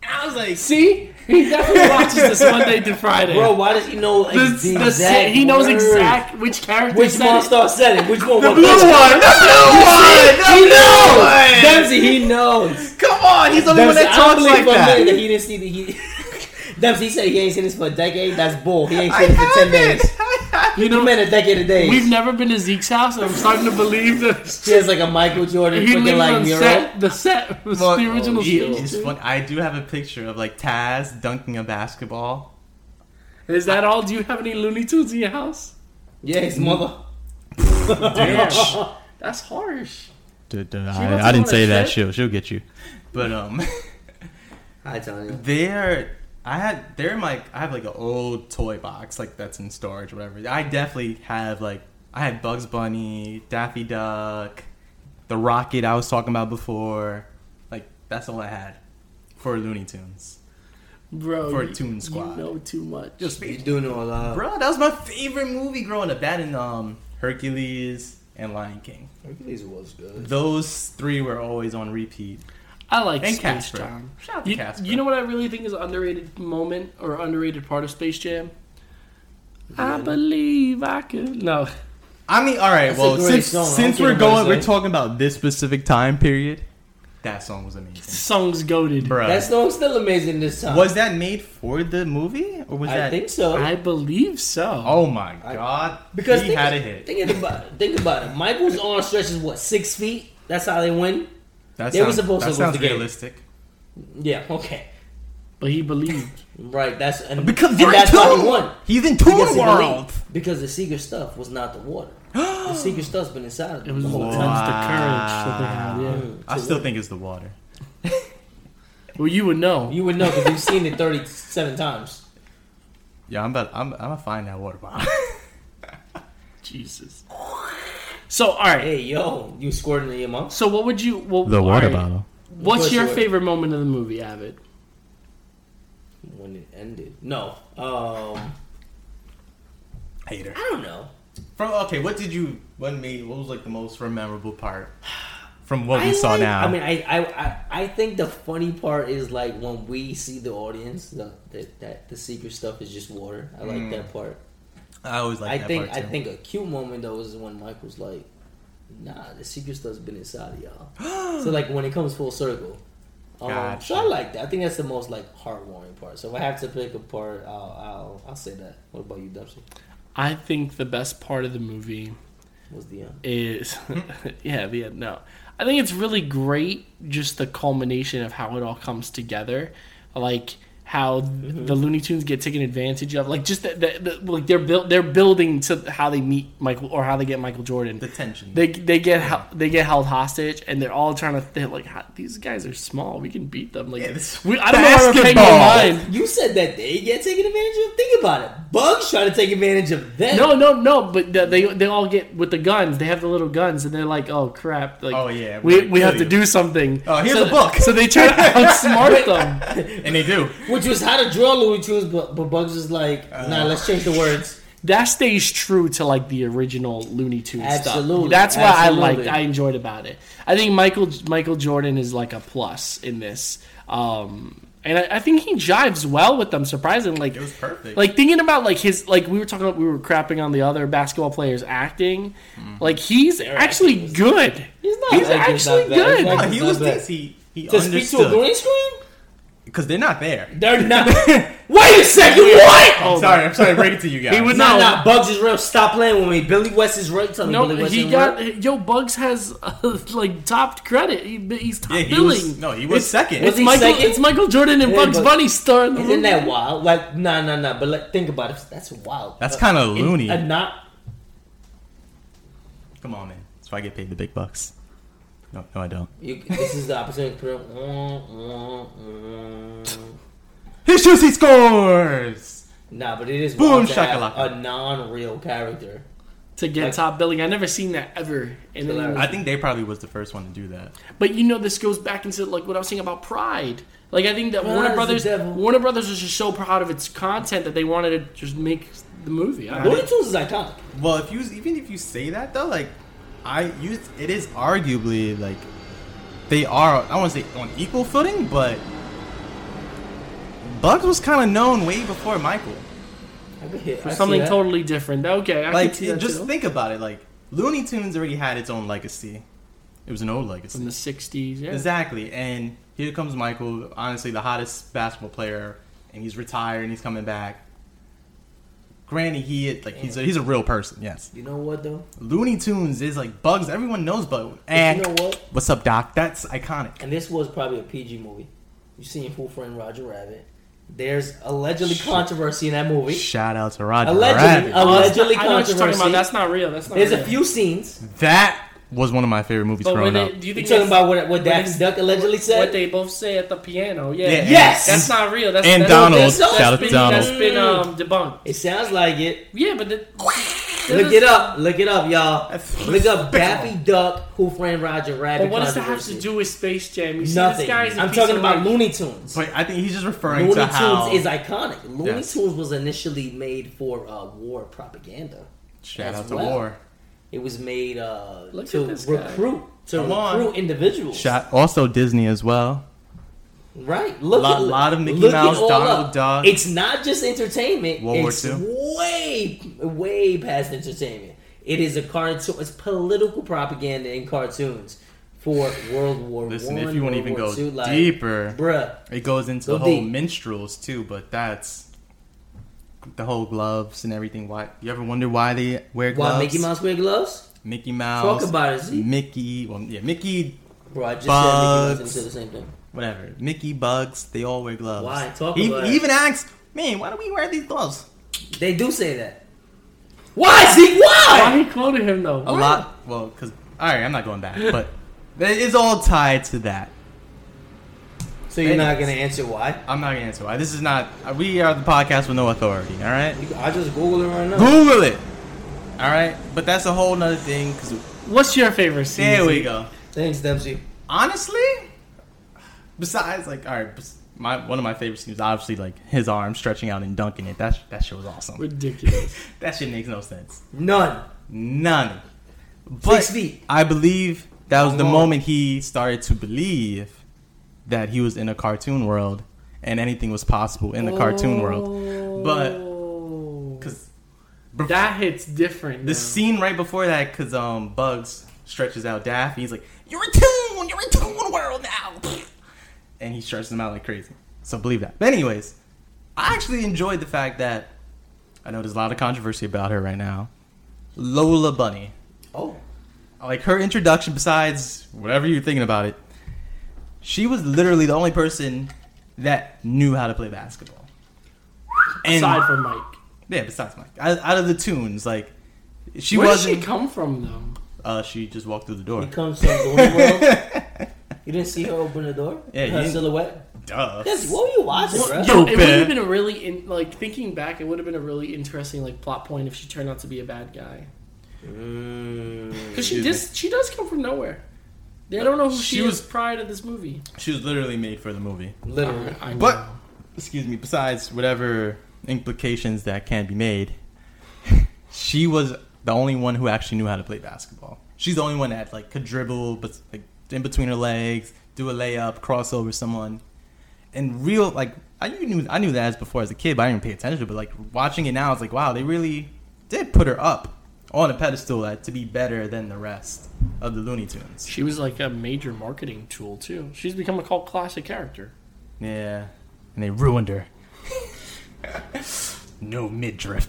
Speaker 3: I was like,
Speaker 2: See, he definitely watches this Monday to Friday.
Speaker 4: Bro, why does he know like,
Speaker 2: The-
Speaker 4: the,
Speaker 2: the sa-
Speaker 4: exact
Speaker 2: he knows
Speaker 4: words?
Speaker 2: exact which character.
Speaker 4: which
Speaker 2: said it.
Speaker 4: monster said it. Which one? The
Speaker 3: "Blue one, the blue "Oh, one, the
Speaker 4: He
Speaker 3: blue
Speaker 4: knows.
Speaker 3: one."
Speaker 4: Dempsey, he knows.
Speaker 3: Come on, he's the only one
Speaker 4: Dempsey,
Speaker 3: that
Speaker 4: I
Speaker 3: talks
Speaker 4: believe
Speaker 3: like
Speaker 4: for a minute
Speaker 3: that.
Speaker 4: He didn't see the. He, Dempsey said he ain't seen this for a decade. That's bull. He ain't
Speaker 3: I
Speaker 4: seen it for ten days.
Speaker 3: haven't.
Speaker 4: You know, man, a decade of days.
Speaker 2: We've never been to Zeke's house, and I'm starting to believe that
Speaker 4: She has like a Michael Jordan
Speaker 2: he lives
Speaker 4: freaking like
Speaker 2: on
Speaker 4: mural.
Speaker 2: set. The set was
Speaker 3: Well,
Speaker 2: the original.
Speaker 3: it-
Speaker 2: Space
Speaker 3: it's
Speaker 2: Jam.
Speaker 3: funny. I do have a picture of like Taz dunking a basketball.
Speaker 2: Is that all? Do you have any Looney Tunes in your house?
Speaker 4: Yeah, his mother.
Speaker 2: Damn. That's harsh. about to
Speaker 3: I
Speaker 2: I didn't
Speaker 3: didn't
Speaker 2: go on a
Speaker 3: say
Speaker 2: say that,
Speaker 3: that.
Speaker 2: trip?
Speaker 3: She'll she'll get you. But um,
Speaker 4: Hi, Tony.
Speaker 3: they're I had they're in like I have like an old toy box like that's in storage or whatever. I definitely have like I had Bugs Bunny, Daffy Duck, the Rocket I was talking about before. Like that's all I had for Looney Tunes.
Speaker 2: Bro.
Speaker 3: For a
Speaker 2: you-
Speaker 3: Toon Squad.
Speaker 2: You know too much.
Speaker 3: Just
Speaker 4: You do know a lot.
Speaker 3: Bro, that was my favorite movie growing up. That and um, Hercules and Lion King.
Speaker 4: Hercules was good.
Speaker 3: Those three were always on repeat.
Speaker 2: I like
Speaker 3: And
Speaker 2: Space
Speaker 3: Casper.
Speaker 2: Jam.
Speaker 3: Shout out to
Speaker 2: You,
Speaker 3: Casper.
Speaker 2: you know what I really think is an underrated moment or underrated part of Space Jam? I believe I could. No.
Speaker 3: I mean, all right.
Speaker 4: That's a
Speaker 3: well,
Speaker 4: great
Speaker 3: since
Speaker 4: song. I don't
Speaker 3: since
Speaker 4: care
Speaker 3: we're
Speaker 4: what nobody
Speaker 3: going, we're
Speaker 4: says.
Speaker 3: talking about this specific time period. That song was amazing,
Speaker 2: Song's goaded.
Speaker 3: bro.
Speaker 4: That song's still amazing this time.
Speaker 3: was that made for the movie, or was
Speaker 4: I
Speaker 3: that?
Speaker 4: think so.
Speaker 2: I believe so.
Speaker 3: Oh my god!
Speaker 4: because
Speaker 3: he
Speaker 4: think,
Speaker 3: had a hit.
Speaker 4: Think about it. Think about it. Michael's arm stretch is what six feet. That's how they win.
Speaker 3: that
Speaker 4: they were supposed
Speaker 3: that
Speaker 4: to go
Speaker 3: sounds
Speaker 4: to the game.
Speaker 3: realistic.
Speaker 4: Yeah. Okay.
Speaker 2: But he believed.
Speaker 4: Right. That's and,
Speaker 3: Because
Speaker 4: and
Speaker 3: you're
Speaker 4: that's
Speaker 3: in
Speaker 4: how
Speaker 3: Toon!
Speaker 4: he won.
Speaker 3: He's in Toon
Speaker 4: Because he
Speaker 3: World.
Speaker 4: believed. Because the secret stuff was not the water. the secret stuff's been inside of
Speaker 2: It
Speaker 4: them.
Speaker 2: was
Speaker 4: the whole
Speaker 2: wow.
Speaker 4: time.
Speaker 2: the courage that they had. Yeah.
Speaker 3: I still think it's the water.
Speaker 2: Well, you would know.
Speaker 4: You would know because you've seen it thirty-seven times.
Speaker 3: Yeah, I'm about. I'm. I'm gonna find that water bottle.
Speaker 2: Jesus. So, all right.
Speaker 4: Hey, yo, you squirted in your mouth.
Speaker 2: So, what would you? Well, all right. What's your favorite moment of the movie, Avid?
Speaker 4: when it ended. No. Um.
Speaker 3: Hater.
Speaker 4: I don't know.
Speaker 3: From okay, what did you? What made? What was like the most memorable part from what we
Speaker 4: I
Speaker 3: saw
Speaker 4: like-
Speaker 3: now?
Speaker 4: I mean, I, I I I think the funny part is like when we see the audience, the that, that the secret stuff is just water. I
Speaker 3: Mm.
Speaker 4: like that part.
Speaker 3: I always like
Speaker 4: I
Speaker 3: that
Speaker 4: think
Speaker 3: part
Speaker 4: I
Speaker 3: too.
Speaker 4: think a cute moment though is when Michael's like, "Nah, the secret stuff's been inside of y'all." so like when it comes full circle. Um, So I
Speaker 3: Gotcha.
Speaker 4: like that. I think that's the most like heartwarming part. So if I have to pick a part, I'll I'll, I'll say that. What about you, Dempsey?
Speaker 2: I think the best part of the movie
Speaker 4: Was the um,
Speaker 2: is
Speaker 3: Hmm?
Speaker 2: yeah, yeah, no. I think it's really great just the culmination of how it all comes together. Like how
Speaker 3: Mm-hmm.
Speaker 2: the Looney Tunes get taken advantage of. Like just that, that, that- like they're built, they're building to how they meet Michael or how they get Michael Jordan.
Speaker 3: The tension.
Speaker 2: They they get hel- they get held hostage, and they're all trying to they're like "Ha- these guys are small. We can beat them. Like
Speaker 3: this-
Speaker 2: we, I don't know how we're playing
Speaker 3: Basketball.
Speaker 2: your mind.
Speaker 4: You said that they get taken advantage of. Think about it. Bugs trying to take advantage of them.
Speaker 2: No, no, no. But th- they they all get with the guns. They have the little guns, and they're like, "Oh crap! Like,
Speaker 3: Oh, yeah, we're
Speaker 2: we,
Speaker 3: gonna
Speaker 2: we
Speaker 3: kill
Speaker 2: have to
Speaker 3: you.
Speaker 2: do something."
Speaker 3: Oh, here's
Speaker 2: so,
Speaker 3: a book.
Speaker 2: So they try to outsmart them.
Speaker 3: and they do.
Speaker 4: Which was how to draw Looney Tunes, but, but Bugs is like,
Speaker 3: Uh.
Speaker 4: nah, let's change the words.
Speaker 2: That stays true to like the original Looney Tunes stuff.
Speaker 4: Absolutely,
Speaker 2: That's what I liked.
Speaker 4: absolutely.
Speaker 2: I enjoyed about it. I think Michael Michael Jordan is like a plus in this, um, and I, I think he jives well with them. Surprisingly, like
Speaker 3: It was perfect.
Speaker 2: like thinking about like his like we were talking about we were crapping on the other basketball players acting
Speaker 3: Mm-hmm.
Speaker 2: like he's actually good
Speaker 4: He's not
Speaker 2: he's
Speaker 4: acting
Speaker 2: actually
Speaker 4: that bad. He's
Speaker 2: good
Speaker 4: not
Speaker 3: No, he was
Speaker 4: Not bad.
Speaker 3: this. He he
Speaker 4: To speak to a green screen?
Speaker 3: because they're not there.
Speaker 4: They're not. Wait a second, what?
Speaker 2: Oh,
Speaker 3: sorry, I'm sorry to break it to you guys.
Speaker 2: He would
Speaker 4: Nah,
Speaker 2: No.
Speaker 4: nah, Bugs is real. Stop playing with me. Billy West is real. Tell me
Speaker 2: no
Speaker 4: Billy West
Speaker 2: he
Speaker 4: ain't
Speaker 2: got
Speaker 4: real.
Speaker 2: yo bugs has uh, like topped credit he, he's top
Speaker 3: Yeah, he
Speaker 2: billing
Speaker 3: was, no, he was second.
Speaker 2: it's
Speaker 4: he
Speaker 2: Michael
Speaker 4: second?
Speaker 2: it's Michael Jordan and
Speaker 4: Yeah,
Speaker 2: Bugs
Speaker 4: but-
Speaker 2: Bunny star in the
Speaker 4: Isn't
Speaker 2: movie
Speaker 4: that wild? Like, nah, nah, nah. But like, think about it. That's wild.
Speaker 3: That's
Speaker 4: Uh,
Speaker 3: kind of loony.
Speaker 4: And not.
Speaker 3: Come on, man. That's why I get paid the big bucks. No, no, I don't.
Speaker 4: You, this is the opportunity to put up. mm, mm, mm.
Speaker 3: He shoots, he scores.
Speaker 4: Nah, but it is
Speaker 3: Boom,
Speaker 4: wild to have
Speaker 3: shakalaka.
Speaker 4: a non-real character.
Speaker 2: to get
Speaker 4: Like-
Speaker 2: top billing I never seen that ever in any
Speaker 4: Hilarious.
Speaker 3: I think they probably was the first one to do that.
Speaker 2: But you know, this goes back into like what I was saying about Pride. Like I think that
Speaker 4: Pride is
Speaker 2: Warner
Speaker 4: the
Speaker 2: Brothers,
Speaker 4: devil.
Speaker 2: Warner Brothers was just so proud of its content that they wanted to just make the movie. I
Speaker 4: Looney
Speaker 2: don't-
Speaker 4: Tunes is iconic.
Speaker 3: Well, if you even if you say that though, like I you, it is arguably like they are. I want to say on equal footing, but Bugs was kind of known way before Michael.
Speaker 4: I could hit, I see
Speaker 2: Something
Speaker 4: that.
Speaker 2: totally different. Okay, I
Speaker 3: Like,
Speaker 2: can see that
Speaker 3: just
Speaker 2: too.
Speaker 3: think about it. Like Looney Tunes already had its own legacy. It was an old legacy.
Speaker 2: from the '60s. Yeah,
Speaker 3: Exactly. And here comes Michael, honestly the hottest basketball player, and he's retired and he's coming back. Granted, he is- like he's a, he's a real person. Yes.
Speaker 4: You know what though?
Speaker 3: Looney Tunes is like Bugs. Everyone knows Bugs.
Speaker 4: But
Speaker 3: And
Speaker 4: you know what?
Speaker 3: What's up, Doc? That's iconic.
Speaker 4: And this was probably a PG movie. You seen Who Framed Roger Rabbit? There's allegedly controversy in that movie.
Speaker 3: Shout out to Roger
Speaker 4: Allegedly,
Speaker 3: Rabbit.
Speaker 2: Oh, that's
Speaker 4: allegedly
Speaker 2: not- I know what you're talking
Speaker 4: controversy.
Speaker 2: about. That's not real. That's not.
Speaker 4: There's
Speaker 2: real.
Speaker 4: a few scenes.
Speaker 3: that was one of my favorite movies
Speaker 2: But when
Speaker 3: growing
Speaker 2: they,
Speaker 3: up.
Speaker 2: do you
Speaker 4: You
Speaker 2: think
Speaker 4: talking
Speaker 2: that's-
Speaker 4: about what what
Speaker 2: what
Speaker 4: Dax
Speaker 2: is-
Speaker 4: Duck allegedly
Speaker 2: what- What
Speaker 4: said?
Speaker 2: they both say at the piano. Yeah.
Speaker 3: Yeah, and-
Speaker 4: Yes!
Speaker 2: That's not real. That's
Speaker 3: And
Speaker 2: that's,
Speaker 3: Donald.
Speaker 2: That's, that's
Speaker 3: Shout out
Speaker 2: been,
Speaker 3: to Donald.
Speaker 2: That's been um, debunked.
Speaker 4: It sounds like it.
Speaker 2: Yeah, but the,
Speaker 4: Look it up. Look it up, y'all.
Speaker 3: That's
Speaker 4: Look
Speaker 3: despicable.
Speaker 4: up Daffy Duck Who Framed Roger Rabbit.
Speaker 2: But what does that have to
Speaker 4: controversy.
Speaker 2: do with Space Jam? You see,
Speaker 4: Nothing.
Speaker 2: this guy's a
Speaker 4: I'm
Speaker 2: piece
Speaker 4: talking
Speaker 2: of
Speaker 4: about
Speaker 2: work.
Speaker 4: Looney Tunes.
Speaker 3: but I think he's just referring
Speaker 4: Looney
Speaker 3: to
Speaker 4: Tunes
Speaker 3: how
Speaker 4: is iconic. Looney
Speaker 3: Yes.
Speaker 4: Tunes was initially made for uh, war propaganda.
Speaker 3: shout
Speaker 4: as
Speaker 3: out to
Speaker 4: well.
Speaker 3: War.
Speaker 4: It was made uh,
Speaker 2: Look
Speaker 4: to
Speaker 2: at this guy.
Speaker 4: recruit to
Speaker 3: Come on.
Speaker 4: recruit individuals.
Speaker 3: Shout also Disney as well.
Speaker 4: Right. Look
Speaker 3: Lot-
Speaker 4: it-
Speaker 3: lot of Mickey
Speaker 4: look it
Speaker 3: Mouse,
Speaker 4: all
Speaker 3: Donald
Speaker 4: up.
Speaker 3: Duck.
Speaker 4: It's not just entertainment.
Speaker 3: World War
Speaker 4: it's
Speaker 3: II.
Speaker 4: way way past entertainment. It is a cartoon. It's political propaganda in cartoons for World War
Speaker 3: Listen,
Speaker 4: One,
Speaker 3: if you want
Speaker 4: World
Speaker 3: to even
Speaker 4: War
Speaker 3: go
Speaker 4: II, like,
Speaker 3: deeper,
Speaker 4: bruh.
Speaker 3: It goes into
Speaker 4: Go
Speaker 3: the whole
Speaker 4: deep.
Speaker 3: minstrels too, but that's the whole gloves and everything. Why you ever wonder why they wear gloves?
Speaker 4: Why Mickey Mouse wear gloves?
Speaker 3: Mickey Mouse.
Speaker 4: Talk about it, Z.
Speaker 3: Mickey. Well, yeah, Mickey.
Speaker 4: Bro, I just said Mickey Mouse and
Speaker 3: Bugs.
Speaker 4: said the same thing.
Speaker 3: Whatever. Mickey bugs. They all wear gloves.
Speaker 4: Why? Talk
Speaker 3: he,
Speaker 4: about
Speaker 3: he
Speaker 4: it.
Speaker 3: even asks, man, why do we wear these gloves?
Speaker 4: They do say that. Why, Zeke? Why?
Speaker 2: Why he quoted him though?
Speaker 3: A lot. Uh, Well, because all right, I'm not going back, but it is all tied to that.
Speaker 4: So you're not gonna answer why?
Speaker 3: I'm not gonna answer why. This is not. uh, We are the podcast with no authority. All right.
Speaker 4: You- I just Google it right now.
Speaker 3: Google it. All right, but that's a whole nother thing. Cause
Speaker 2: What's your favorite scene?
Speaker 3: there we go.
Speaker 4: Thanks, Dempsey.
Speaker 3: honestly, besides like all right, bes- my one of my favorite scenes obviously like his arm stretching out and dunking it. That sh- that shit was awesome.
Speaker 2: Ridiculous.
Speaker 3: That shit makes no sense.
Speaker 4: None.
Speaker 3: None. But
Speaker 4: Six feet.
Speaker 3: I believe that was the
Speaker 4: Come on.
Speaker 3: moment he started to believe that he was in a cartoon world and anything was possible in the cartoon world. But
Speaker 2: Oh.
Speaker 3: because
Speaker 2: that hits different.
Speaker 3: the
Speaker 2: now.
Speaker 3: scene right before that, because um Bugs stretches out Daffy, he's like, "You're in tune, you're in tune world now," and he stretches him out like crazy. So believe that. But anyways, I actually enjoyed the fact that I know there's a lot of controversy about her right now. Lola Bunny,
Speaker 4: Oh.
Speaker 3: like her introduction. Besides whatever you're thinking about it, she was literally the only person that knew how to play basketball. And,
Speaker 2: Aside from Mike.
Speaker 3: yeah, besides Mike, out, out of the tunes, like she
Speaker 2: Where did she
Speaker 3: wasn't. She,
Speaker 2: come from, though?
Speaker 3: uh, she just walked through the
Speaker 4: He
Speaker 3: door.
Speaker 4: comes from Golden World. You didn't see her open the door?
Speaker 3: Yeah,
Speaker 4: her
Speaker 3: you-
Speaker 4: silhouette.
Speaker 3: Duh.
Speaker 4: Yes, what were you watching,
Speaker 3: Yo,
Speaker 4: bro?
Speaker 2: it would have
Speaker 3: Stupid.
Speaker 2: been a really in, like thinking back. It would have been a really interesting like plot point if she turned out to be a bad guy. Because she
Speaker 3: Excuse
Speaker 2: dis, she does come from nowhere. They don't know who she,
Speaker 3: She
Speaker 2: was
Speaker 3: was-
Speaker 2: prior to this movie.
Speaker 3: She was literally made for the movie.
Speaker 4: Literally.
Speaker 2: I know.
Speaker 3: But excuse me, besides whatever implications that can be made, she was the only one who actually knew how to play basketball. She's the only one that like could dribble, but like in between her legs, do a layup, cross over someone. And real like I knew I knew that as before as a kid, but I didn't pay attention. But like watching it now, it's like wow, they really did put her up on a pedestal that, to be better than the rest of the Looney Tunes.
Speaker 2: she was like a major marketing tool too. She's become a cult classic character.
Speaker 3: Yeah. And they ruined her. no midriff.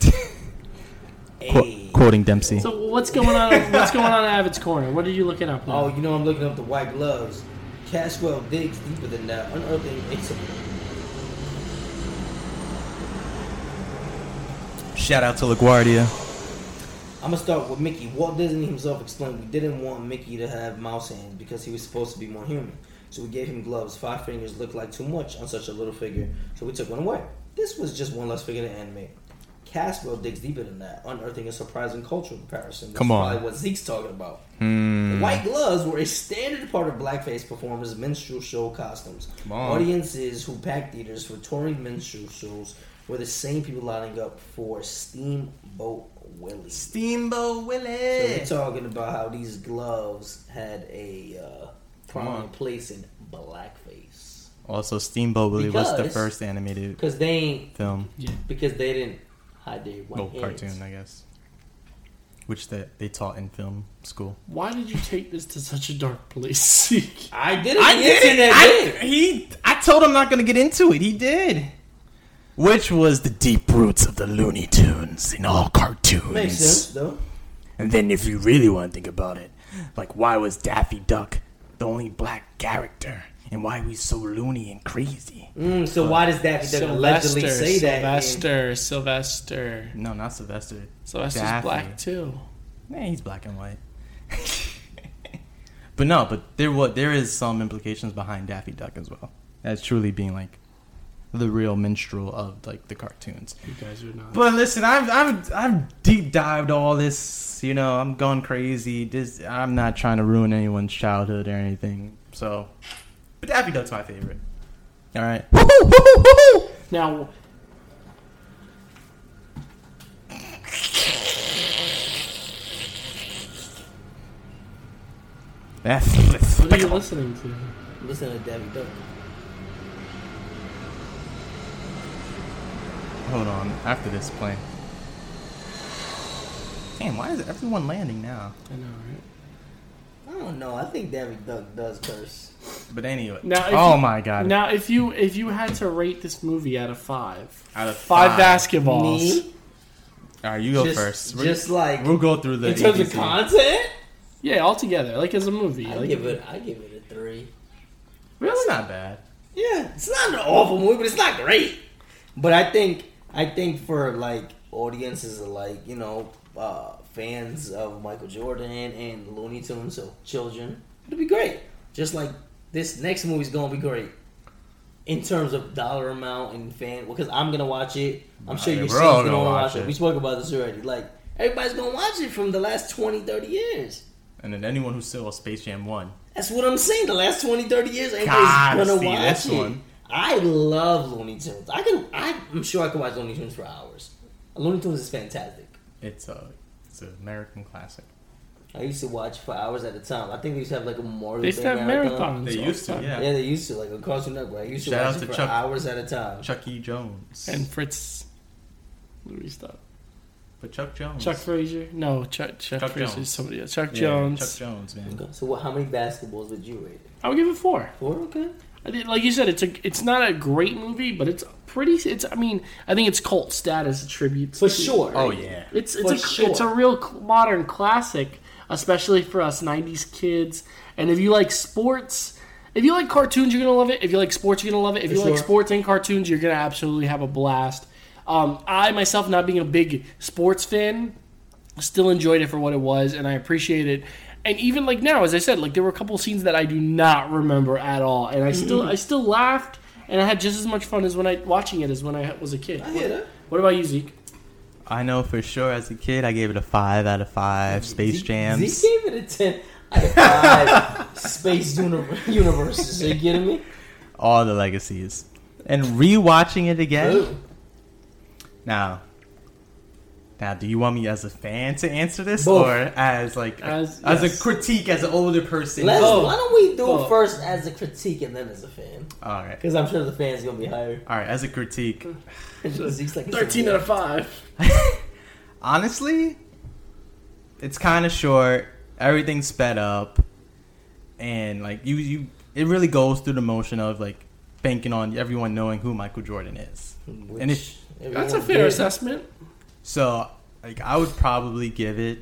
Speaker 3: Qu- quoting Dempsey.
Speaker 2: So what's going on? what's going on at Abbott's Corner? What are you looking up?
Speaker 4: Oh,
Speaker 2: Now?
Speaker 4: you know I'm looking up the white gloves. Caswell digs deeper than that, unearthing a
Speaker 3: Shout out to LaGuardia.
Speaker 4: I'm gonna start with Mickey. Walt Disney himself explained we didn't want Mickey to have mouse hands because he was supposed to be more human. So we gave him gloves. Five fingers looked like too much on such a little figure, so we took one away. This was just one less figure to animate. Caswell digs deeper than that, unearthing a surprising cultural comparison. That's
Speaker 3: Come on. Hmm.
Speaker 4: probably what Zeke's talking about. The White gloves were a standard part of blackface performers' minstrel show costumes.
Speaker 3: on.
Speaker 4: Audiences who packed theaters for touring minstrel shows were the same people lining up for Steamboat Willie.
Speaker 3: Steamboat
Speaker 4: So we're
Speaker 3: Willie.
Speaker 4: talking about how these gloves had a uh, prominent
Speaker 3: on.
Speaker 4: place in blackface
Speaker 3: also, Steamboat Willie was the
Speaker 4: Because-
Speaker 3: first animated
Speaker 4: because they ain't
Speaker 3: film.
Speaker 2: yeah.
Speaker 4: because they didn't hide their white
Speaker 3: Well,
Speaker 4: hands.
Speaker 3: cartoon, I guess. Which that they taught in film school.
Speaker 2: Why did you take this to such a dark place? Zeke?
Speaker 4: I did it. I did it.
Speaker 3: he, I told him not going to get into it. He did. Which was the deep roots of the Looney Tunes in all cartoons.
Speaker 4: Makes sense though.
Speaker 3: And then, if you really want to think about it, like why was Daffy Duck the only black character, and why we so loony and crazy?
Speaker 4: Mm, so why does Daffy Duck allegedly
Speaker 2: Sylvester,
Speaker 4: say that? in-
Speaker 2: Sylvester, Sylvester,
Speaker 3: No, not Sylvester.
Speaker 2: Sylvester's
Speaker 3: Daffy.
Speaker 2: black too.
Speaker 3: Man, he's black and white. but no, but there was there is some implications behind Daffy Duck as well. That's truly being like the real minstrel of like the cartoons.
Speaker 2: You guys are not.
Speaker 3: But listen, I've I've I've deep dived all this. You know, I'm going crazy. This I'm not trying to ruin anyone's childhood or anything. So, but Daffy Duck's my favorite. All right.
Speaker 2: Now,
Speaker 3: That's
Speaker 2: what are you listening to?
Speaker 4: Listen to Daffy Duck.
Speaker 3: Hold on. After this plane. Damn, why is everyone landing now?
Speaker 2: I know, right?
Speaker 4: I don't know. I think Daffy Duck does curse.
Speaker 3: But anyway.
Speaker 2: Now, if
Speaker 3: oh
Speaker 2: you-
Speaker 3: my god.
Speaker 2: Now, if you if you had to rate this movie out of five,
Speaker 3: Out of
Speaker 2: five,
Speaker 3: five.
Speaker 2: basketballs,
Speaker 4: Me,
Speaker 3: All right, you go
Speaker 4: just,
Speaker 3: first. We're-
Speaker 4: just like
Speaker 3: we'll go through the
Speaker 4: in terms of
Speaker 3: ABC.
Speaker 4: content,
Speaker 2: yeah, altogether, like as a movie,
Speaker 4: I
Speaker 2: like,
Speaker 4: give it. I give it a three.
Speaker 3: That's not bad.
Speaker 4: Yeah, it's not an awful movie, but it's not great. But I think I think for like audiences alike, you know, uh, fans of Michael Jordan and Looney Tunes, so children, it'll be great. Just like this next movie's gonna be great in terms of dollar amount and fan. Because I'm gonna watch it. I'm sure
Speaker 3: Nah,
Speaker 4: your
Speaker 3: we're
Speaker 4: son's
Speaker 3: all
Speaker 4: gonna,
Speaker 3: gonna
Speaker 4: watch,
Speaker 3: watch
Speaker 4: it.
Speaker 3: it.
Speaker 4: We spoke about this already. Like everybody's gonna watch it from the last 20, 30 years.
Speaker 3: And then anyone who saw Space Jam 1.
Speaker 4: That's what I'm saying. The last 20, 30 years, everybody's
Speaker 3: Gotta
Speaker 4: gonna
Speaker 3: see
Speaker 4: watch
Speaker 3: this
Speaker 4: it.
Speaker 3: one.
Speaker 4: I love Looney Tunes. I can. I, I'm sure I could watch Looney Tunes for hours. Looney Tunes is fantastic.
Speaker 3: It's a it's an American classic.
Speaker 4: I used to watch for hours at a time. I think we used to have like a Memorial
Speaker 2: they
Speaker 4: Day
Speaker 2: used to have
Speaker 4: marathon.
Speaker 2: marathons.
Speaker 3: They
Speaker 2: all
Speaker 3: used
Speaker 2: the
Speaker 3: to,
Speaker 2: time.
Speaker 3: yeah.
Speaker 4: Yeah, they used to like on Cartoon Network. I used to
Speaker 3: Shout
Speaker 4: watch
Speaker 3: out
Speaker 4: it
Speaker 3: to
Speaker 4: for
Speaker 3: Chuck.
Speaker 4: hours at a time.
Speaker 3: Chuck E. Jones.
Speaker 2: And Fritz, Louis stuff.
Speaker 3: but Chuck Jones.
Speaker 2: Chuck Frazier, no, Chuck Chuck,
Speaker 3: Chuck
Speaker 2: Frazier,
Speaker 3: Jones.
Speaker 2: somebody else. Chuck
Speaker 3: Yeah,
Speaker 2: Jones.
Speaker 3: Chuck Jones, man.
Speaker 4: Okay, So, what, how many basketballs would you rate? it?
Speaker 2: I would give it four.
Speaker 4: Four. Okay.
Speaker 2: I think, like you said, it's a, it's not a great movie, but it's pretty. It's I mean, I think it's cult status attributes
Speaker 4: For
Speaker 2: to-
Speaker 4: sure.
Speaker 3: Oh yeah.
Speaker 2: It's it's
Speaker 4: For
Speaker 2: a
Speaker 4: sure.
Speaker 2: it's a real cl- modern classic, especially for us '90s kids. And if you like sports If you like cartoons, you're gonna love it. If you like sports, you're gonna love it. If you like
Speaker 4: sure.
Speaker 2: sports and cartoons, you're gonna absolutely have a blast. Um, I myself, not being a big sports fan, still enjoyed it for what it was, and I appreciate it. And even like now, as I said, like there were a couple scenes that I do not remember at all, and I still I still laughed, and I had just as much fun as when I watching it as when I was a kid.
Speaker 4: I hear that.
Speaker 2: What about you, Zeke?
Speaker 3: I know for sure as a kid, I gave it a 5 out of 5 Space
Speaker 4: Zeke-
Speaker 3: Jams.
Speaker 4: Zeke gave it a ten. out of five space uni- universes. Are you kidding me?
Speaker 3: all the legacies. And rewatching it again.
Speaker 4: Ooh.
Speaker 3: Now, now, do you want me as a fan to answer this,
Speaker 4: Both.
Speaker 3: or as like a-
Speaker 2: As-
Speaker 3: as,
Speaker 2: yes.
Speaker 3: a critique as an older person?
Speaker 4: Let's,
Speaker 2: Both.
Speaker 4: why don't we do
Speaker 2: Both.
Speaker 3: Oh.
Speaker 4: it first as a critique and then as a fan?
Speaker 3: all right,
Speaker 4: Because I'm sure the fans gonna be higher.
Speaker 3: all right. As a critique,
Speaker 4: Zeke's like
Speaker 2: Thirteen out of five.
Speaker 3: honestly, it's kind of short. Everything's sped up, and like you, you, it really goes through the motion of like banking on everyone knowing who Michael Jordan is. and if
Speaker 2: That's a fair assessment.
Speaker 3: So, like, I would probably give it.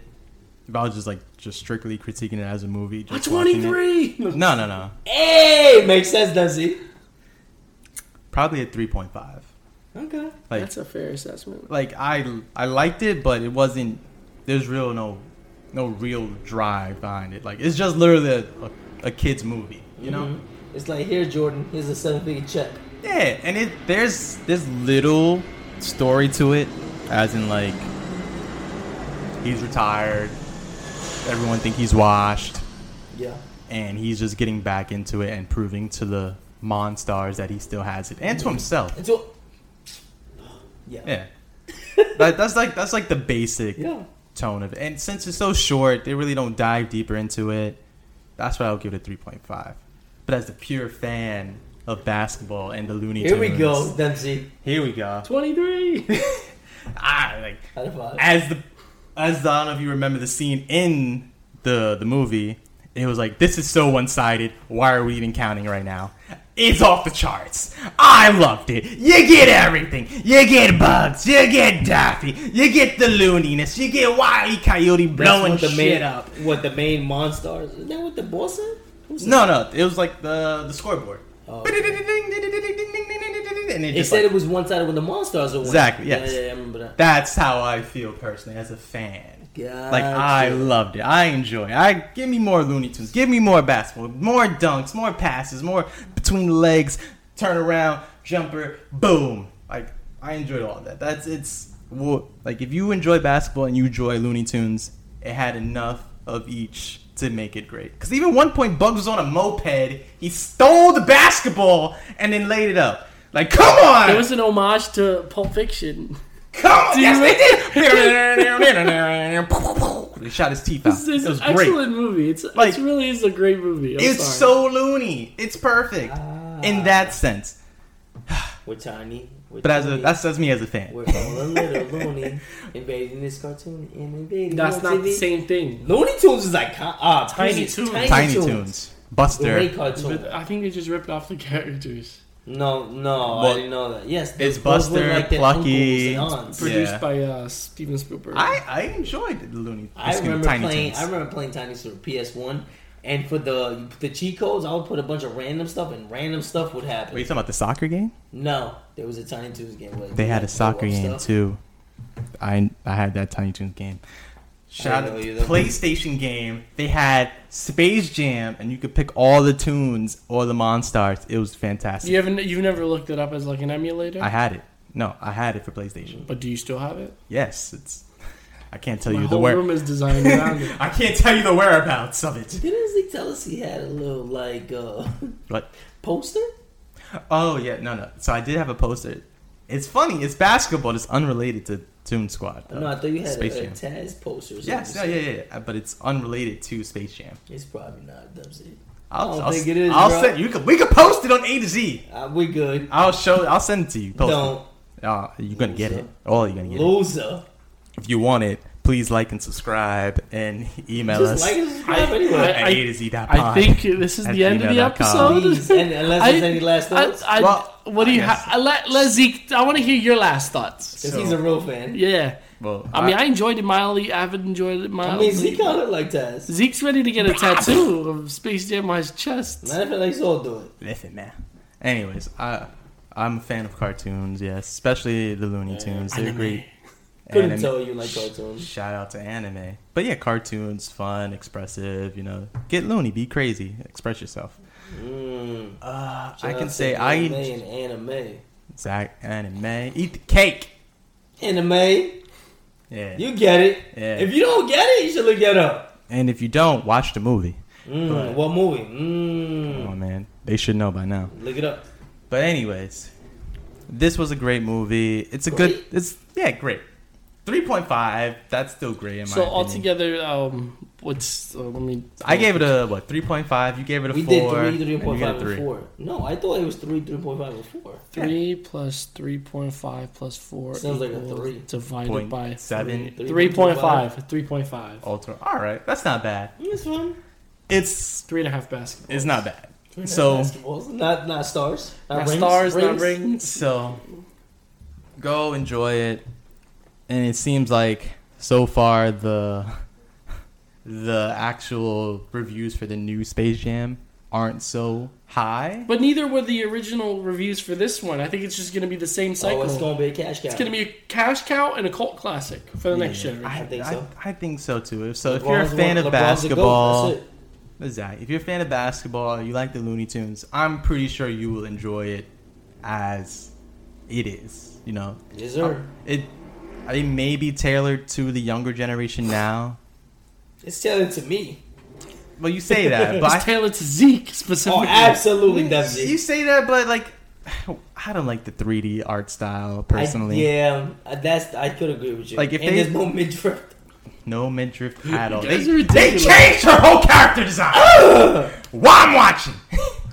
Speaker 3: If I was just like just strictly critiquing it as a movie, just watching
Speaker 2: Twenty
Speaker 3: it-
Speaker 2: three.
Speaker 3: No, no, no.
Speaker 4: Hey, makes sense, does he?
Speaker 3: Probably a three point five.
Speaker 4: Okay.
Speaker 3: Like,
Speaker 2: That's a fair assessment.
Speaker 3: like I I liked it, but it wasn't. There's real no no real drive behind it. Like, it's just literally a, a, a kids movie, you know.
Speaker 4: Mm-hmm. It's like here, Jordan. Here's a seven-figure check.
Speaker 3: Yeah, and it there's there's little story to it, as in like he's retired. Everyone think he's washed.
Speaker 4: Yeah.
Speaker 3: and he's just getting back into it and proving to the Monstars that he still has it and to himself.
Speaker 4: And so, yeah.
Speaker 3: Yeah, That- that's like that's like the basic
Speaker 4: Yeah.
Speaker 3: tone of it. And since it's so short, they really don't dive deeper into it. That's why I'll give it a three point five. But as a pure fan of basketball and the Looney
Speaker 4: Here
Speaker 3: Tunes,
Speaker 4: we go, Dempsey.
Speaker 3: Here we go.
Speaker 2: Twenty three.
Speaker 3: Ah, like
Speaker 4: Out of five.
Speaker 3: as the as I don't know if you remember the scene in the the movie, it was like this is so one sided. Why are we even counting right now? It's off the charts. I loved it. You get everything. You get bugs. You get Daffy. You get the looniness. You get Wiley Coyote blowing shit
Speaker 4: main,
Speaker 3: up.
Speaker 4: What the main monsters? Is that what the boss said? Who said
Speaker 3: No, no, it was like the the scoreboard.
Speaker 4: Oh,
Speaker 3: And
Speaker 4: okay.
Speaker 3: it
Speaker 4: They
Speaker 3: just,
Speaker 4: said
Speaker 3: like,
Speaker 4: it was one-sided when the monsters were winning.
Speaker 3: Exactly, yes.
Speaker 4: Yeah, yeah, I remember that.
Speaker 3: That's how I feel personally as a fan. Like
Speaker 4: Gotcha.
Speaker 3: I loved it. I enjoy. It. I give me more Looney Tunes. Give me more basketball. More dunks. More passes. More between the legs. Turn around. Jumper. Boom. Like I enjoyed all of that. That's it's wo- like if you enjoy basketball and you enjoy Looney Tunes, it had enough of each to make it great. Because even one point, Bugs was on a moped. He stole the basketball and then laid it up. Like come on.
Speaker 2: It was an homage to Pulp Fiction.
Speaker 3: Come on,
Speaker 2: yes,
Speaker 3: they did. they shot his teeth out.
Speaker 2: This is
Speaker 3: It was
Speaker 2: an
Speaker 3: great.
Speaker 2: excellent movie. It's
Speaker 3: Like-
Speaker 2: it really is a great movie. I'm
Speaker 3: It's
Speaker 2: sorry.
Speaker 3: so loony. It's perfect
Speaker 4: Ah.
Speaker 3: in that sense.
Speaker 4: We're tiny. We're
Speaker 3: But as a,
Speaker 4: tiny.
Speaker 3: that's that's me as a fan.
Speaker 4: we're all a little loony, invading this cartoon and invading.
Speaker 2: that's
Speaker 4: your
Speaker 2: not the
Speaker 4: TV.
Speaker 2: same thing.
Speaker 4: Looney Tunes is like ah,
Speaker 2: Tiny
Speaker 4: Tunes.
Speaker 2: Toons.
Speaker 3: Tiny Toons,
Speaker 4: Great
Speaker 3: Buster.
Speaker 2: But
Speaker 4: cartoon.
Speaker 2: I think they just ripped off the characters
Speaker 4: No, no, I
Speaker 3: Well,
Speaker 4: didn't know that. Yes,
Speaker 3: it's
Speaker 4: those
Speaker 3: Buster,
Speaker 4: were their
Speaker 3: Plucky.
Speaker 4: uncles and aunts.
Speaker 3: Yeah.
Speaker 2: produced by uh, Steven Spielberg.
Speaker 3: I I enjoyed the Looney.
Speaker 4: I
Speaker 3: excuse me,
Speaker 4: remember
Speaker 3: Tiny
Speaker 4: playing.
Speaker 3: Toons.
Speaker 4: I remember playing Tiny Toons for PS One, and for the the cheat codes, I would put a bunch of random stuff, and random stuff would happen.
Speaker 3: Were you talking about the soccer game?
Speaker 4: No, there was a Tiny Toons game. where
Speaker 3: They had a
Speaker 4: blow
Speaker 3: soccer
Speaker 4: up
Speaker 3: game
Speaker 4: stuff.
Speaker 3: too. I I had that Tiny Toons game. Shout
Speaker 4: know
Speaker 3: out
Speaker 4: either.
Speaker 3: PlayStation game. They had Space Jam, and you could pick all the tunes or the Monstars. It was fantastic.
Speaker 2: you haven't you've never looked it up as like an emulator,
Speaker 3: I had it. No, I had it for PlayStation.
Speaker 2: but do you still have it?
Speaker 3: Yes, it's. I can't tell
Speaker 2: My
Speaker 3: you the
Speaker 2: whole room
Speaker 3: where.
Speaker 2: is designed around it.
Speaker 3: I can't tell you the whereabouts of it.
Speaker 4: Didn't Zeke tell us he had a little like uh,
Speaker 3: But
Speaker 4: poster?
Speaker 3: oh yeah, no no. So I did have a poster. It's funny. It's basketball. It's unrelated to Toon Squad.
Speaker 4: no, I
Speaker 3: uh,
Speaker 4: thought you had a,
Speaker 3: Space
Speaker 4: a
Speaker 3: Jam.
Speaker 4: Taz poster. Or something.
Speaker 3: Yes, yeah, yeah, yeah, yeah. But it's unrelated to Space Jam.
Speaker 4: It's probably not Dubsy.
Speaker 3: I'll,
Speaker 4: I don't
Speaker 3: I'll-
Speaker 4: think it is,
Speaker 3: I'll
Speaker 4: bro.
Speaker 3: send you. Could, we could post it on A to Z.
Speaker 4: Uh, we good.
Speaker 3: I'll show. I'll send it to you. Post
Speaker 4: Don't.
Speaker 3: It. Uh, you're gonna get it.
Speaker 4: Loser.
Speaker 3: Oh, you're gonna get it.
Speaker 4: Loser.
Speaker 3: If you want it, please like and subscribe and email
Speaker 4: Just
Speaker 3: us.
Speaker 4: like and subscribe
Speaker 2: I-
Speaker 4: anyway.
Speaker 3: at
Speaker 2: I-
Speaker 3: A to Z dot
Speaker 2: I
Speaker 3: pod.
Speaker 2: think this is
Speaker 3: At
Speaker 2: the end of the
Speaker 3: gmail.com.
Speaker 2: episode.
Speaker 4: Please, and unless there's any last thoughts?
Speaker 2: I, I,
Speaker 3: Well,
Speaker 2: what do
Speaker 3: I
Speaker 2: you
Speaker 3: guess-
Speaker 2: ha- I let, let Zeke? I want to hear your last thoughts.
Speaker 4: Because he's a real fan.
Speaker 2: Yeah.
Speaker 3: Well,
Speaker 2: I mean, I enjoyed it mildly. I haven't enjoyed it
Speaker 4: I
Speaker 2: mildly.
Speaker 4: mean, Zeke kind of like Taz.
Speaker 2: Zeke's ready to get a tattoo of Space Jam on his chest.
Speaker 4: Not if like all do it.
Speaker 3: listen, man. Anyways, I I'm a fan of cartoons. Yes, especially the Looney Tunes. They're
Speaker 2: anime.
Speaker 3: great.
Speaker 4: Couldn't
Speaker 3: Anime-
Speaker 4: tell you like cartoons.
Speaker 3: Shout out to anime. But yeah, cartoons, fun, expressive, you know. Get loony, be crazy, express yourself.
Speaker 4: Mm.
Speaker 3: Uh, I
Speaker 4: Shout out
Speaker 3: can
Speaker 4: to
Speaker 3: say
Speaker 4: anime
Speaker 3: I
Speaker 4: and anime.
Speaker 3: Zach anime. Eat the cake.
Speaker 4: Anime,
Speaker 3: Yeah.
Speaker 4: you get it.
Speaker 3: Yeah.
Speaker 4: If you don't get it, you should look it up.
Speaker 3: and if you don't, watch the movie.
Speaker 4: Mm, what movie? Mm,
Speaker 3: Come on, man. They should know by now.
Speaker 4: look it up.
Speaker 3: But anyways, this was a great movie. It's a good
Speaker 4: Great?
Speaker 3: it's yeah, great. 3.5, that's still great in my
Speaker 2: So
Speaker 3: opinion.
Speaker 2: altogether, um, what's uh, let me?
Speaker 3: I gave it a what, 3.5, you gave it a
Speaker 4: We
Speaker 3: 4.
Speaker 4: did
Speaker 3: and you
Speaker 4: three, three point
Speaker 3: get a
Speaker 4: five,
Speaker 3: three.
Speaker 4: and four. No, I thought it was three, three point five, and four.
Speaker 2: Three plus three point five plus four
Speaker 4: Sounds like a
Speaker 2: equals
Speaker 4: three.
Speaker 2: divided
Speaker 3: Point
Speaker 2: by
Speaker 3: seven. Oh.
Speaker 2: three. Three point five. Three point five.
Speaker 3: Ultra. All right, that's not bad.
Speaker 4: This one.
Speaker 3: It's
Speaker 2: Three and a half basketball.
Speaker 3: it's not bad. So
Speaker 4: Basketballs, not not stars, not,
Speaker 2: Not
Speaker 4: rings,
Speaker 2: stars, not
Speaker 4: rings.
Speaker 2: rings.
Speaker 3: so go enjoy it. And it seems like so far the the actual reviews for the new Space Jam aren't so high.
Speaker 2: But neither were the original reviews for this one. I think it's just going to be the same cycle.
Speaker 4: Oh, it's
Speaker 2: it's
Speaker 4: gonna be a cash cow.
Speaker 2: going to be a cash cow and a cult classic for the next generation.
Speaker 4: I think so.
Speaker 3: I, I think so too. So if
Speaker 4: LeBron's
Speaker 3: you're a fan
Speaker 4: one-
Speaker 3: of
Speaker 4: LeBron's the GOAT,
Speaker 3: basketball,
Speaker 4: that's it.
Speaker 3: Exactly. If you're a fan of basketball, you like the Looney Tunes, I'm pretty sure you will enjoy it as it is. You know, Uh,
Speaker 4: Yes, sir.
Speaker 3: it it may be tailored to the younger generation now.
Speaker 4: It's telling to me.
Speaker 3: Well, you say that, but
Speaker 2: It's
Speaker 3: I,
Speaker 2: tailored to Zeke
Speaker 4: Oh,
Speaker 2: specifically.
Speaker 4: absolutely does
Speaker 3: you
Speaker 4: it.
Speaker 3: say that, but like I don't like the 3D art style
Speaker 4: I-
Speaker 3: personally.
Speaker 4: yeah, uh, that's I could agree with you.
Speaker 3: Like, if
Speaker 4: and
Speaker 3: they-
Speaker 4: there's no midriff.
Speaker 3: No midriff at all.
Speaker 2: You
Speaker 3: They,
Speaker 2: guys are
Speaker 3: they
Speaker 2: ridiculous.
Speaker 3: changed her whole character design. While I'm watching,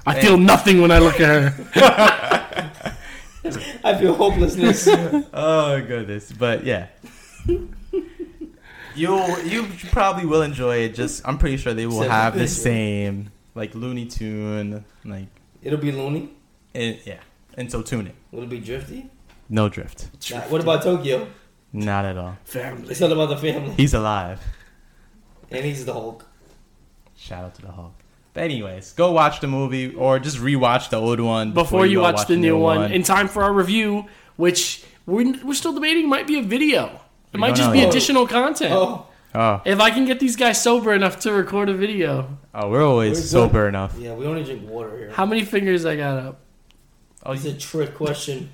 Speaker 2: I feel nothing when I look at her.
Speaker 4: I feel hopelessness.
Speaker 3: Oh goodness, but yeah. You'll you probably will enjoy it. Just I'm pretty sure they will
Speaker 4: Seven.
Speaker 3: have the same like Looney Tune like
Speaker 4: It'll be loony.
Speaker 3: it, yeah. And so tune it.
Speaker 4: It'll be drifty.
Speaker 3: No drift,
Speaker 4: Nah, what about Tokyo?
Speaker 3: not at all.
Speaker 2: Family.
Speaker 4: It's all about the family,
Speaker 3: He's alive.
Speaker 4: and he's the Hulk.
Speaker 3: Shout out to the Hulk. But anyways, go watch the movie or just rewatch the old one
Speaker 2: Before you
Speaker 3: all
Speaker 2: watch the new one, in time for our review, which we're, we're still debating, might be a video. It might
Speaker 3: don't
Speaker 2: just
Speaker 3: know
Speaker 2: be
Speaker 3: yet.
Speaker 2: additional content.
Speaker 4: Oh,
Speaker 3: oh,
Speaker 2: If I can get these guys sober enough to record a video,
Speaker 3: oh, we're always
Speaker 4: We're good.
Speaker 3: sober enough.
Speaker 4: yeah. We only drink water here.
Speaker 2: how many fingers I got up?
Speaker 3: Oh,
Speaker 4: It's a trick question.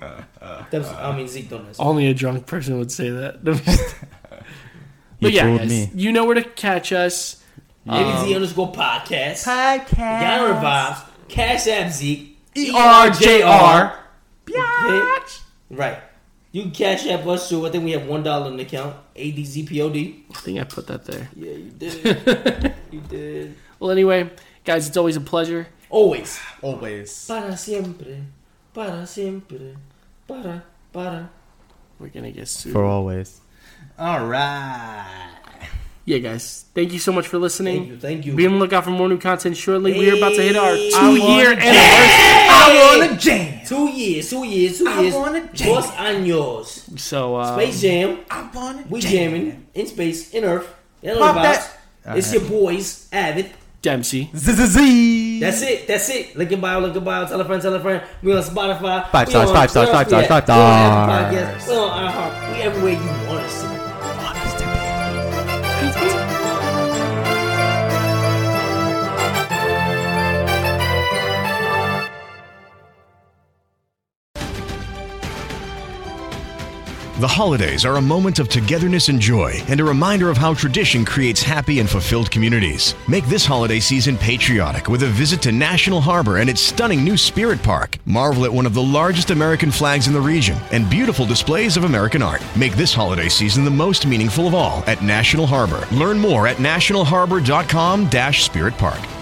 Speaker 3: Uh,
Speaker 4: That's, I mean, Zeke don't
Speaker 3: Um,
Speaker 4: answer.
Speaker 2: Only a drunk person would say that. but yeah, guys, you know where to catch us.
Speaker 4: Maybe Z underscore podcast.
Speaker 3: Podcast.
Speaker 4: Down vibes. Cash App Zeke.
Speaker 3: ERJR. Biatch.
Speaker 4: Right. You can cash app us too. I think we have one dollar in the account. ADZPOD.
Speaker 2: I think I put that there.
Speaker 4: Yeah, you did. you did.
Speaker 2: Well, anyway, guys, it's always a pleasure.
Speaker 4: Always.
Speaker 3: Always.
Speaker 4: Para siempre. Para siempre. Para. Para.
Speaker 2: We're gonna get sued.
Speaker 3: For always. All right.
Speaker 2: yeah, guys, thank you so much for listening.
Speaker 4: Thank you. Thank you.
Speaker 2: Be on the lookout for more new content shortly. We are about to hit our
Speaker 4: Hey.
Speaker 2: two-year anniversary.
Speaker 3: I want to jam.
Speaker 4: two years. Two years. Two years.
Speaker 3: wanna jam. Um,
Speaker 4: Dos años.
Speaker 2: So, uh,
Speaker 4: Space Jam.
Speaker 3: I want to
Speaker 4: We jamming in space, in Earth. Hello,
Speaker 3: Pop
Speaker 4: vibes.
Speaker 3: that.
Speaker 4: It's your boys, Avid.
Speaker 2: Dempsey.
Speaker 3: Z.
Speaker 4: That's it. That's it. Link in bio. Link in bio. Tell a friend. Tell a friend. We on Spotify.
Speaker 3: Five
Speaker 4: we
Speaker 3: stars,
Speaker 4: on-
Speaker 3: five stars,
Speaker 4: where
Speaker 3: five
Speaker 4: else we
Speaker 3: stars, five
Speaker 4: at? We on Apple
Speaker 3: stars.
Speaker 4: Podcasts. We on iHeart. We everywhere you want us to.
Speaker 5: The holidays are a moment of togetherness and joy, and a reminder of how tradition creates happy and fulfilled communities. Make this holiday season patriotic with a visit to National Harbor and its stunning new Spirit Park. Marvel at one of the largest American flags in the region and beautiful displays of American art. Make this holiday season the most meaningful of all at National Harbor. Learn more at nationalharbor.com-spiritpark.